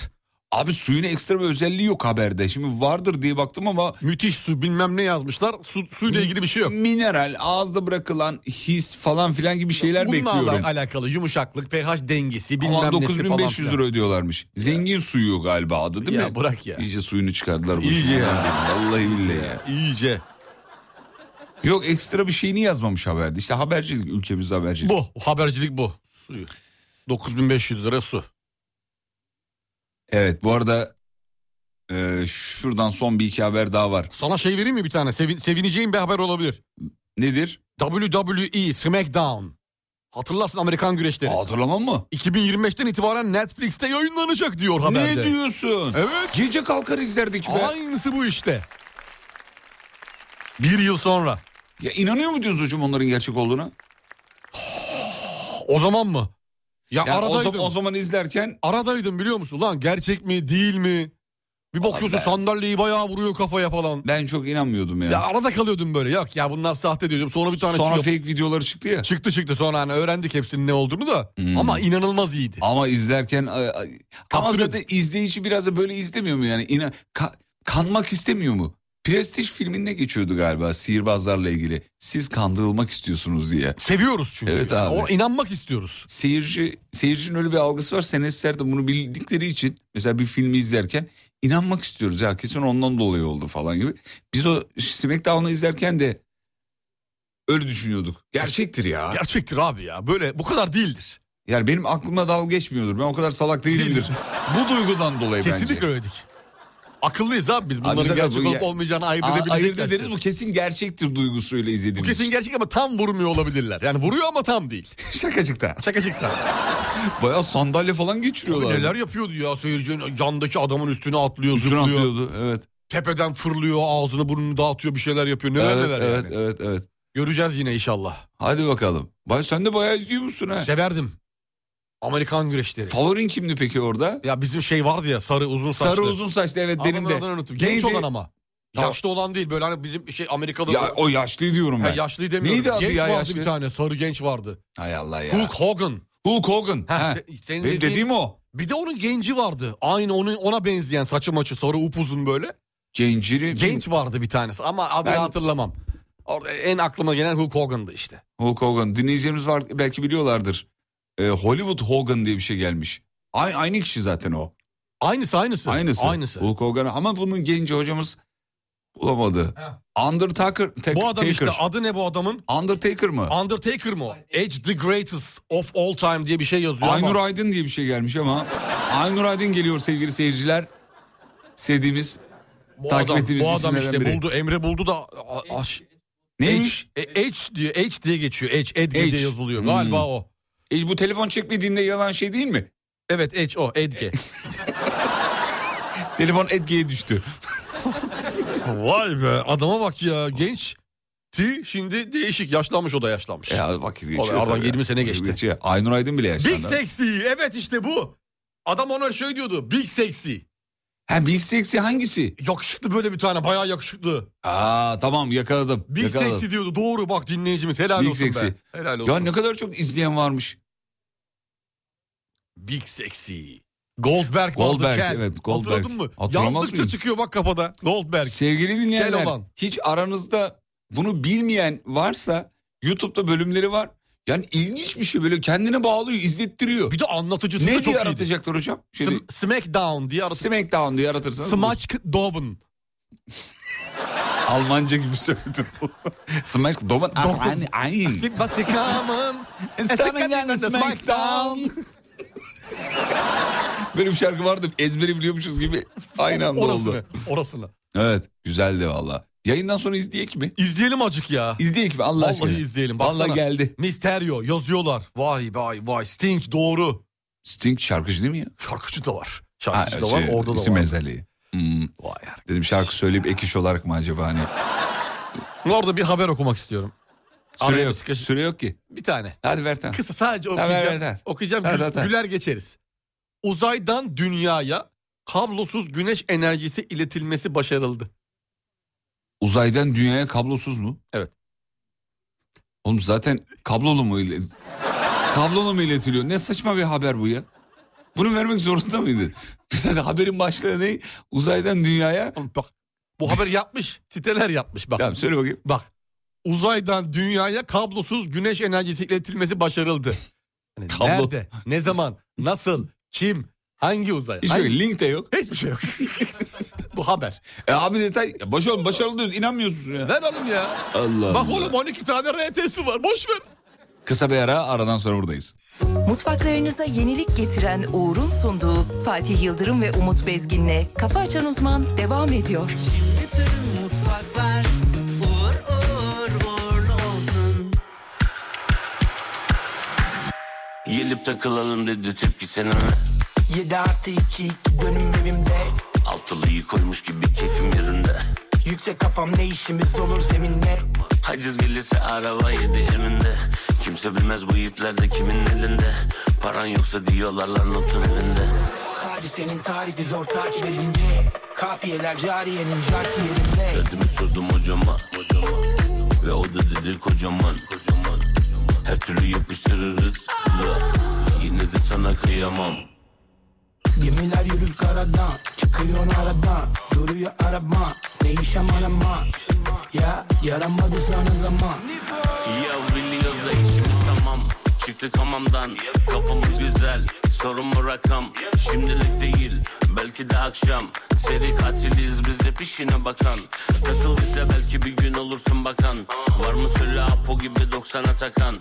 Speaker 3: Abi suyun ekstra bir özelliği yok haberde. Şimdi vardır diye baktım ama...
Speaker 4: Müthiş su bilmem ne yazmışlar. Su, suyla ilgili bir şey yok.
Speaker 3: Mineral, ağızda bırakılan his falan filan gibi şeyler
Speaker 4: Bunlarla
Speaker 3: bekliyorum.
Speaker 4: alakalı yumuşaklık, pH dengesi bilmem
Speaker 3: Ama
Speaker 4: nesi falan.
Speaker 3: 9500
Speaker 4: filan.
Speaker 3: lira ödüyorlarmış. Zengin suyu galiba adı değil
Speaker 4: Ya
Speaker 3: mi?
Speaker 4: bırak ya.
Speaker 3: İyice suyunu çıkardılar. bu
Speaker 4: İyice
Speaker 3: işin.
Speaker 4: ya.
Speaker 3: Vallahi billahi ya.
Speaker 4: İyice.
Speaker 3: Yok ekstra bir şeyini yazmamış haberde. İşte habercilik ülkemizde habercilik.
Speaker 4: Bu habercilik bu. Suyu. 9500 lira su.
Speaker 3: Evet bu arada e, şuradan son bir iki haber daha var.
Speaker 4: Sana şey vereyim mi bir tane? Sevin, sevineceğin bir haber olabilir.
Speaker 3: Nedir?
Speaker 4: WWE SmackDown. Hatırlarsın Amerikan güreşleri.
Speaker 3: Hatırlamam mı?
Speaker 4: 2025'ten itibaren Netflix'te yayınlanacak diyor haberde.
Speaker 3: Ne diyorsun?
Speaker 4: Evet.
Speaker 3: Gece kalkar izlerdik be.
Speaker 4: Aynısı bu işte. Bir yıl sonra.
Speaker 3: Ya inanıyor mu diyorsun hocam onların gerçek olduğuna?
Speaker 4: O zaman mı? Ya
Speaker 3: Yani o
Speaker 4: aradaydım.
Speaker 3: zaman- o zaman izlerken-
Speaker 4: Aradaydım biliyor musun? Lan gerçek mi değil mi? Bir bakıyorsun
Speaker 3: ben-
Speaker 4: sandalyeyi bayağı vuruyor kafaya falan.
Speaker 3: Ben çok inanmıyordum ya.
Speaker 4: Ya arada kalıyordum böyle. Yok ya bunlar sahte diyordum. Sonra bir tane
Speaker 3: Sonra
Speaker 4: çıkıyor.
Speaker 3: fake videoları çıktı ya.
Speaker 4: Çıktı çıktı sonra hani öğrendik hepsinin ne olduğunu da.
Speaker 3: Hmm.
Speaker 4: Ama inanılmaz iyiydi.
Speaker 3: Ama izlerken ay, ay, ama zaten izleyici biraz da böyle izlemiyor mu yani? İna, ka- kanmak istemiyor mu? Prestij filminde geçiyordu galiba sihirbazlarla ilgili. Siz kandırılmak istiyorsunuz diye.
Speaker 4: Seviyoruz çünkü.
Speaker 3: Evet abi.
Speaker 4: O inanmak istiyoruz.
Speaker 3: Seyirci seyircinin öyle bir algısı var. Senestler de bunu bildikleri için mesela bir filmi izlerken inanmak istiyoruz ya kesin ondan dolayı oldu falan gibi. Biz o Smackdown'u izlerken de öyle düşünüyorduk. Gerçektir ya.
Speaker 4: Gerçektir abi ya. Böyle bu kadar değildir.
Speaker 3: Yani benim aklıma dalga geçmiyordur. Ben o kadar salak değilimdir. Bu duygudan dolayı E, bence.
Speaker 4: Kesinlikle öyledik. Akıllıyız abi biz. Bunların
Speaker 3: Abi zaten
Speaker 4: gerçek
Speaker 3: bu
Speaker 4: olup
Speaker 3: ya-
Speaker 4: olmayacağını ayırt
Speaker 3: Aa,
Speaker 4: edebilecek.
Speaker 3: ayırt
Speaker 4: yaşta.
Speaker 3: ederiz bu kesin gerçektir duygusuyla
Speaker 4: Bu
Speaker 3: izlediğimiz.
Speaker 4: kesin gerçek ama tam vurmuyor olabilirler. Yani vuruyor ama tam değil.
Speaker 3: Şakacıkta.
Speaker 4: Şakacıkta.
Speaker 3: Baya sandalye falan geçiriyorlar.
Speaker 4: Neler yapıyordu ya seyircinin yandaki adamın üstüne atlıyor,
Speaker 3: Üstüne
Speaker 4: zıplıyor.
Speaker 3: atlıyordu, evet.
Speaker 4: Tepeden fırlıyor, ağzını burnunu dağıtıyor, bir şeyler yapıyor. Neler
Speaker 3: evet,
Speaker 4: neler
Speaker 3: evet,
Speaker 4: yani.
Speaker 3: evet, evet.
Speaker 4: Göreceğiz yine inşallah.
Speaker 3: Hadi bakalım. Bay sen de bayağı izliyor musun ha?
Speaker 4: Severdim. Amerikan güreşleri.
Speaker 3: Favorin kimdi peki orada?
Speaker 4: Ya bizim şey vardı ya sarı uzun saçlı.
Speaker 3: Sarı uzun saçlı, evet,
Speaker 4: Adamın
Speaker 3: benim de.
Speaker 4: adını unuttum. Genç
Speaker 3: Neydi?
Speaker 4: olan ama.
Speaker 3: Tamam.
Speaker 4: Yaşlı olan değil böyle hani bizim şey Amerika'da.
Speaker 3: Ya o yaşlı diyorum
Speaker 4: Ha,
Speaker 3: ben.
Speaker 4: yaşlı demiyorum.
Speaker 3: Neydi adı
Speaker 4: genç
Speaker 3: ya
Speaker 4: vardı
Speaker 3: yaşlı?
Speaker 4: bir tane sarı genç vardı.
Speaker 3: Hay Allah ya.
Speaker 4: Hulk Hogan.
Speaker 3: Hulk Hogan.
Speaker 4: Ha, şey,
Speaker 3: Ha,
Speaker 4: se- senin
Speaker 3: Benim
Speaker 4: dediğin-
Speaker 3: dediğim o.
Speaker 4: Bir de onun genci vardı. Aynı onun ona benzeyen saçı maçı sarı upuzun böyle.
Speaker 3: Gencini.
Speaker 4: Genç vardı bir tanesi ama adını
Speaker 3: Ben-
Speaker 4: hatırlamam. Orada en aklıma gelen Hulk Hogan'dı işte.
Speaker 3: Hulk Hogan. Dinleyicilerimiz var belki biliyorlardır. Ee, Hollywood Hogan diye bir şey gelmiş. Aynı, aynı kişi zaten o.
Speaker 4: Aynısı aynısı.
Speaker 3: Aynısı.
Speaker 4: Aynısı.
Speaker 3: Hulk Hogan ama bunun genci hocamız bulamadı. Undertaker. Tek,
Speaker 4: Bu adam işte
Speaker 3: Taker.
Speaker 4: adı ne bu adamın?
Speaker 3: Undertaker mı?
Speaker 4: Undertaker mı? o? Edge the greatest of all time diye bir şey yazıyor
Speaker 3: Aynur
Speaker 4: ama.
Speaker 3: Aydın diye bir şey gelmiş ama Aynur Aydın geliyor sevgili seyirciler. Sevdiğimiz,
Speaker 4: Bu
Speaker 3: takip
Speaker 4: adam,
Speaker 3: ettiğimiz
Speaker 4: bu adam
Speaker 3: isimlerden
Speaker 4: işte
Speaker 3: biri.
Speaker 4: buldu Emre buldu da a- aş-
Speaker 3: Neymiş? Hmm.
Speaker 4: H, e, H diye H diye geçiyor. H, Edge diye yazılıyor. Galiba o.
Speaker 3: E, bu telefon çekmediğinde yalan şey değil mi?
Speaker 4: Evet H o Edge.
Speaker 3: telefon Edge'ye düştü.
Speaker 4: Vay be adama bak ya genç. Ti şimdi değişik yaşlanmış o da yaşlanmış.
Speaker 3: Ya vakit
Speaker 4: O da
Speaker 3: E, geçiyor
Speaker 4: Aradan
Speaker 3: tabii.
Speaker 4: 20 sene
Speaker 3: Vakit
Speaker 4: geçti.
Speaker 3: geçiyor. Aynur Aydın bile yaşlandı.
Speaker 4: Big Sexy evet işte bu. Adam ona şey diyordu Big Sexy.
Speaker 3: Ha Big Sexy hangisi?
Speaker 4: Yakışıklı böyle bir tane bayağı yakışıklı.
Speaker 3: Aa tamam yakaladım.
Speaker 4: Big
Speaker 3: yakaladım.
Speaker 4: Sexy diyordu doğru bak dinleyicimiz helal
Speaker 3: Big
Speaker 4: olsun
Speaker 3: Sexy.
Speaker 4: be. Helal olsun.
Speaker 3: Ya ne kadar çok izleyen varmış.
Speaker 4: Big Sexy. Goldberg,
Speaker 3: Goldberg,
Speaker 4: vardı Kel.
Speaker 3: evet, Goldberg.
Speaker 4: Hatırladın mı?
Speaker 3: Hatırlamaz
Speaker 4: Yazdıkça
Speaker 3: mıyım?
Speaker 4: çıkıyor bak kafada. Goldberg.
Speaker 3: Sevgili dinleyenler
Speaker 4: Kel olan.
Speaker 3: hiç aranızda bunu bilmeyen varsa YouTube'da bölümleri var. Yani ilginç bir şey böyle kendine bağlıyor, izlettiriyor.
Speaker 4: Bir de anlatıcısı
Speaker 3: ne
Speaker 4: da çok
Speaker 3: diye şey?
Speaker 4: iyiydi.
Speaker 3: aratacaklar hocam? Şimdi
Speaker 4: Sm- Smackdown diye aratır.
Speaker 3: Smackdown diye aratırsanız. Hmm.
Speaker 4: Smackdown.
Speaker 3: Almanca gibi söyledim. Smackdown. Ah, Aynı. aynı.
Speaker 4: Vatikan'ın. Vatikan'ın Smackdown.
Speaker 3: Böyle bir şarkı vardı. Ezberi biliyormuşuz gibi aynı anda
Speaker 4: Orasını.
Speaker 3: oldu.
Speaker 4: Orasını.
Speaker 3: Evet güzeldi valla. Yayından sonra izleyek mi?
Speaker 4: İzleyelim acık ya.
Speaker 3: İzleyek mi Allah
Speaker 4: Vallahi
Speaker 3: aşkına?
Speaker 4: izleyelim.
Speaker 3: Vallahi
Speaker 4: baksana.
Speaker 3: geldi.
Speaker 4: Misterio yazıyorlar. Vay vay vay. Sting doğru.
Speaker 3: Sting şarkıcı değil mi ya?
Speaker 4: Şarkıcı da var. Şarkıcı
Speaker 3: Ha,
Speaker 4: da var
Speaker 3: şey,
Speaker 4: orada da
Speaker 3: isim
Speaker 4: var.
Speaker 3: ezeli. Hmm. Dedim şarkı söyleyip ek iş olarak mı acaba hani?
Speaker 4: Orada bir haber okumak istiyorum.
Speaker 3: Süre yok, süre yok ki.
Speaker 4: Bir tane.
Speaker 3: Hadi ver tamam.
Speaker 4: Kısa sadece
Speaker 3: Ha, ver, ver,
Speaker 4: okuyacağım.
Speaker 3: ver.
Speaker 4: Okuyacağım
Speaker 3: Ver,
Speaker 4: gü-
Speaker 3: ver, ver.
Speaker 4: güler geçeriz. Uzaydan dünyaya kablosuz güneş enerjisi iletilmesi başarıldı.
Speaker 3: Uzaydan dünyaya kablosuz mu?
Speaker 4: Evet.
Speaker 3: Oğlum zaten kablolu mu ile... kablolu mu iletiliyor? Ne saçma bir haber bu ya. Bunu vermek zorunda mıydı? Bir dakika haberin başlığı ne? Uzaydan dünyaya...
Speaker 4: Bak bu haber yapmış. Siteler yapmış bak.
Speaker 3: Tamam söyle bakayım.
Speaker 4: Bak. Uzaydan dünyaya kablosuz güneş enerjisi iletilmesi başarıldı. Hani
Speaker 3: Kablo-
Speaker 4: Nerede? Ne zaman? Nasıl? Kim? Hangi uzay?
Speaker 3: Hiçbir
Speaker 4: Hangi-
Speaker 3: link de yok.
Speaker 4: Hiçbir şey yok. bu haber.
Speaker 3: E abi detay Ya başarılı başarılı diyoruz inanmıyorsun ya.
Speaker 4: Ver oğlum ya.
Speaker 3: Allah
Speaker 4: Bak
Speaker 3: Allah.
Speaker 4: oğlum 12 tane RT'si var. Boş ver.
Speaker 3: Kısa bir ara aradan sonra buradayız.
Speaker 1: Mutfaklarınıza yenilik getiren Uğur'un sunduğu Fatih Yıldırım ve Umut Bezgin'le Kafa Açan Uzman devam ediyor.
Speaker 11: Bütün mutfaklar uğur uğur uğurlu olsun.
Speaker 17: Gelip takılalım dedi tepkisine
Speaker 11: 7 artı 2 iki dönüm evimde.
Speaker 17: Altılıyı koymuş gibi keyfim yerinde
Speaker 11: Yüksek kafam ne işimiz olur zeminle.
Speaker 17: Haciz gelirse araba yedi evinde Kimse bilmez bu iplerde kimin elinde Paran yoksa diyorlar lan notun elinde
Speaker 11: Hadisenin tarifi zor takip edince. Kafiyeler cariyenin jarti yerinde.
Speaker 17: Derdimi sordum hocama Ve o da dedi kocaman Her türlü yapıştırırız La. Yine de sana kıyamam
Speaker 11: Gemiler yürür karadan Çıkıyor aradan Duruyor araba Değişem arama Ya yaramadı sana zaman
Speaker 17: Ya biliyoruz da işimiz tamam Çıktık hamamdan Kafamız güzel Sorun mu rakam Şimdilik değil Belki de akşam Seri katiliz biz hep işine bakan Takıl bize belki bir gün olursun bakan Var mı söyle Apo gibi 90'a takan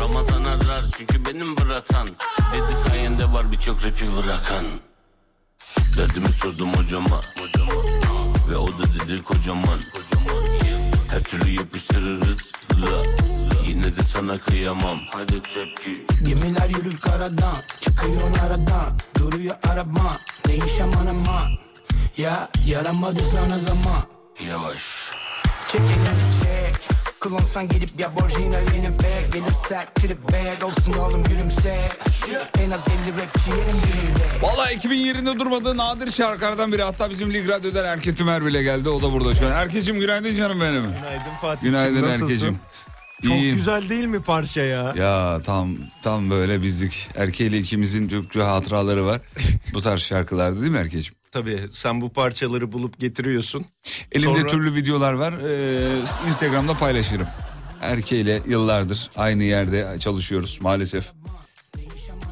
Speaker 17: Ramazan arar çünkü benim bıratan Dedi sayende var birçok rapi bırakan Derdimi sordum hocama Ve o da dedi kocaman her türlü yapıştırırız la. Yine de sana kıyamam Hadi tepki
Speaker 11: Gemiler yürür karadan Çıkıyor aradan Duruyor araba Değişem arama Ya yaramadı sana zaman
Speaker 17: Yavaş
Speaker 11: Çek elini çek Klonsan gelip ya borcuna yenip be Gelip sert trip bad olsun oğlum gülümse En az 50 rapçi yerim günümde
Speaker 3: Vallahi 2000 yerinde durmadığı nadir şarkılardan biri. Hatta bizim Lig Radyo'dan Erke Tümer bile geldi. O da burada şu an. Erkeciğim günaydın canım benim.
Speaker 18: Günaydın Fatih.
Speaker 3: Günaydın
Speaker 18: nasılsın?
Speaker 3: Erkeciğim.
Speaker 18: Çok
Speaker 3: İyiyim.
Speaker 18: güzel değil mi parça ya?
Speaker 3: Ya tam tam böyle bizlik. Erkeğiyle ikimizin çok güzel hatıraları var. Bu tarz şarkılarda değil mi Erkeciğim?
Speaker 18: Tabii sen bu parçaları bulup getiriyorsun.
Speaker 3: Elimde
Speaker 18: Sonra-
Speaker 3: türlü videolar var. Ee, Instagram'da paylaşırım. Erkeğiyle yıllardır aynı yerde çalışıyoruz maalesef.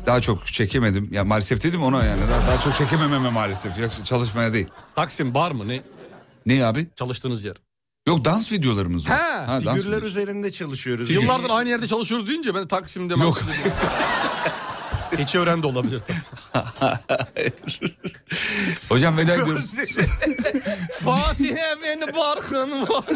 Speaker 3: Daha çok çekemedim. Ya maalesef dedim ona yani. Daha, daha çok çekemememe maalesef. Yoksa çalışmaya değil.
Speaker 4: Taksim bar mı ne?
Speaker 3: Ne abi?
Speaker 4: Çalıştığınız yer.
Speaker 3: Yok dans videolarımız var.
Speaker 18: Ha,
Speaker 3: dans
Speaker 18: figürler
Speaker 3: videoları.
Speaker 18: üzerinde çalışıyoruz.
Speaker 4: Yıllardır aynı yerde çalışıyoruz deyince ben Taksim'de... Yok. Keçi öğren de olabilir.
Speaker 3: Hocam veda ediyoruz.
Speaker 12: Fatih'e beni barkın var.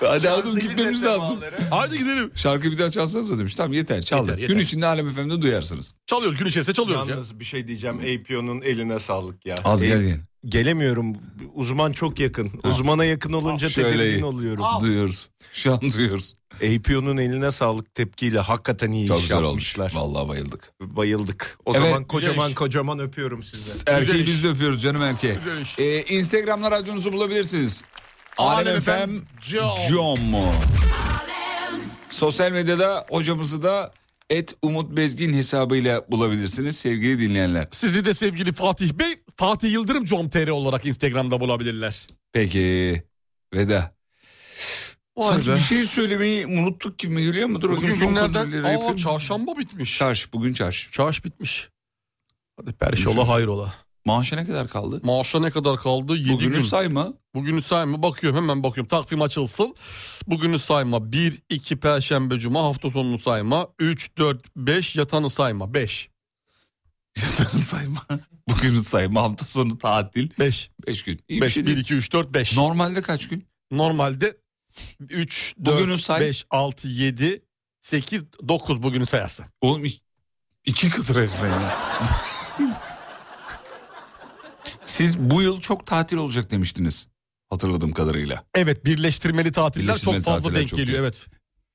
Speaker 3: Hadi oğlum gitmemiz lazım.
Speaker 4: Hadi gidelim.
Speaker 3: Şarkı bir daha çalsanıza demiş. Tamam yeter çaldık.
Speaker 18: Yeter, yeter.
Speaker 3: Gün içinde Alem FM'de duyarsınız.
Speaker 4: Çalıyoruz gün içerisinde çalıyoruz
Speaker 18: Yalnız bir şey diyeceğim. APO'nun eline sağlık ya.
Speaker 3: Az
Speaker 18: El-
Speaker 3: gel yine.
Speaker 18: Gelemiyorum. Uzman çok yakın. Uzmana yakın olunca tedirgin oluyorum.
Speaker 3: Duyuyoruz. Şu an duyuyoruz.
Speaker 18: APO'nun eline sağlık tepkiyle hakikaten iyi
Speaker 3: Çok
Speaker 18: iş
Speaker 3: güzel
Speaker 18: yapmışlar.
Speaker 3: Vallahi bayıldık.
Speaker 18: Bayıldık. O
Speaker 3: Evet.
Speaker 18: zaman
Speaker 3: Güzel
Speaker 18: kocaman
Speaker 3: iş.
Speaker 18: kocaman öpüyorum sizi.
Speaker 3: Erkeği biz de öpüyoruz canım erkeği.
Speaker 18: Güzel iş.
Speaker 3: Ee, Instagram'da radyonuzu bulabilirsiniz.
Speaker 18: Alem
Speaker 3: Alem
Speaker 18: FM
Speaker 3: FM Com. Sosyal medyada hocamızı da et Umut Bezgin hesabıyla bulabilirsiniz sevgili dinleyenler.
Speaker 4: Sizi de sevgili Fatih Bey, Fatih Yıldırım com.tr olarak Instagram'da bulabilirler.
Speaker 3: Peki veda.
Speaker 4: Vay
Speaker 3: Sanki
Speaker 4: be.
Speaker 3: bir şey söylemeyi unuttuk gibi geliyor mu? Dur bakayım
Speaker 4: Bugün
Speaker 3: son
Speaker 4: günlerden-
Speaker 3: kontrolleri
Speaker 4: Aa,
Speaker 3: yapayım.
Speaker 4: çarşamba bitmiş.
Speaker 3: Çarş bugün çarş.
Speaker 4: Çarş bitmiş. Hadi Perşola hayrola.
Speaker 3: Maaşa ne kadar kaldı?
Speaker 4: Maaşa ne kadar kaldı? 7
Speaker 3: Bugünü
Speaker 4: gün.
Speaker 3: sayma.
Speaker 4: Bugünü sayma. Bakıyorum hemen bakıyorum. Takvim açılsın. Bugünü sayma. 1, 2 Perşembe, Cuma hafta sonunu sayma. 3, 4, 5 yatanı sayma. 5.
Speaker 3: Yatanı sayma. Bugünü sayma hafta sonu tatil.
Speaker 4: 5.
Speaker 3: 5 gün. İyi bir
Speaker 4: 5,
Speaker 3: şey
Speaker 4: 1,
Speaker 3: değil.
Speaker 4: 2, 3, 4, 5.
Speaker 3: Normalde kaç gün?
Speaker 4: Normalde 3,
Speaker 3: Bugünü
Speaker 4: 4,
Speaker 3: say.
Speaker 4: 5, 6, 7, 8, 9 bugünü sayarsan.
Speaker 3: Oğlum iki- iki kıtır resmen ya. Siz bu yıl çok tatil olacak demiştiniz. Hatırladığım kadarıyla.
Speaker 4: Evet birleştirmeli tatiller
Speaker 3: Birleştirmeli
Speaker 4: çok fazla
Speaker 3: tatiller
Speaker 4: denk
Speaker 3: çok
Speaker 4: geliyor.
Speaker 3: iyi.
Speaker 4: Evet.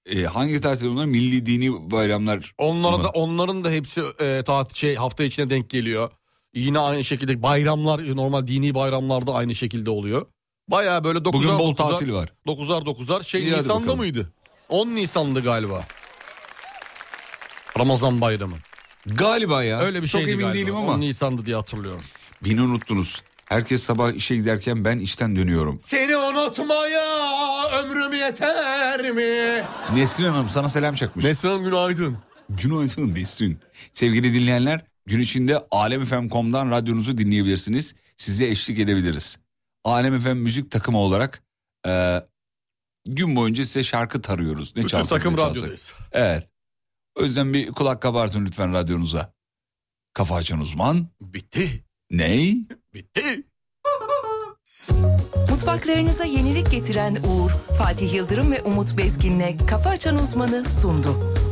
Speaker 3: Ee, hangi tatil onlar? Milli dini bayramlar.
Speaker 4: Onlara
Speaker 3: mı?
Speaker 4: da onların da hepsi e, tatil şey hafta içine denk geliyor. Yine aynı şekilde bayramlar e, normal dini bayramlarda aynı şekilde oluyor. Baya böyle 9'ar
Speaker 3: Bugün bol tatil var.
Speaker 4: 9'ar 9'ar şey
Speaker 3: İyi, hadi
Speaker 4: Nisan'da
Speaker 3: bakalım.
Speaker 4: mıydı? 10 Nisan'dı galiba. Ramazan bayramı.
Speaker 3: Galiba ya.
Speaker 4: Öyle bir
Speaker 3: Çok
Speaker 4: şeydi
Speaker 3: emin
Speaker 4: galiba.
Speaker 3: değilim ama.
Speaker 4: 10 Nisan'dı diye hatırlıyorum.
Speaker 3: Beni unuttunuz. Herkes sabah işe giderken ben işten dönüyorum.
Speaker 12: Seni unutmaya ömrüm yeter mi?
Speaker 3: Nesrin Hanım sana selam çakmış.
Speaker 4: Nesrin Hanım günaydın.
Speaker 3: Günaydın Nesrin. Sevgili dinleyenler gün içinde alemfm.com'dan radyonuzu dinleyebilirsiniz. Size eşlik edebiliriz. Alem FM müzik takımı olarak e, gün boyunca size şarkı tarıyoruz. Ne
Speaker 4: Bütün
Speaker 3: çalsak
Speaker 4: takım
Speaker 3: ne çalsak.
Speaker 4: radyodayız.
Speaker 3: Evet. O yüzden bir kulak kabartın lütfen radyonuza. Kafa açan uzman.
Speaker 4: Bitti.
Speaker 3: Ney?
Speaker 4: Bitti.
Speaker 1: Mutfaklarınıza yenilik getiren Uğur, Fatih Yıldırım ve Umut Bezgin'le Kafa Açan Uzman'ı sundu.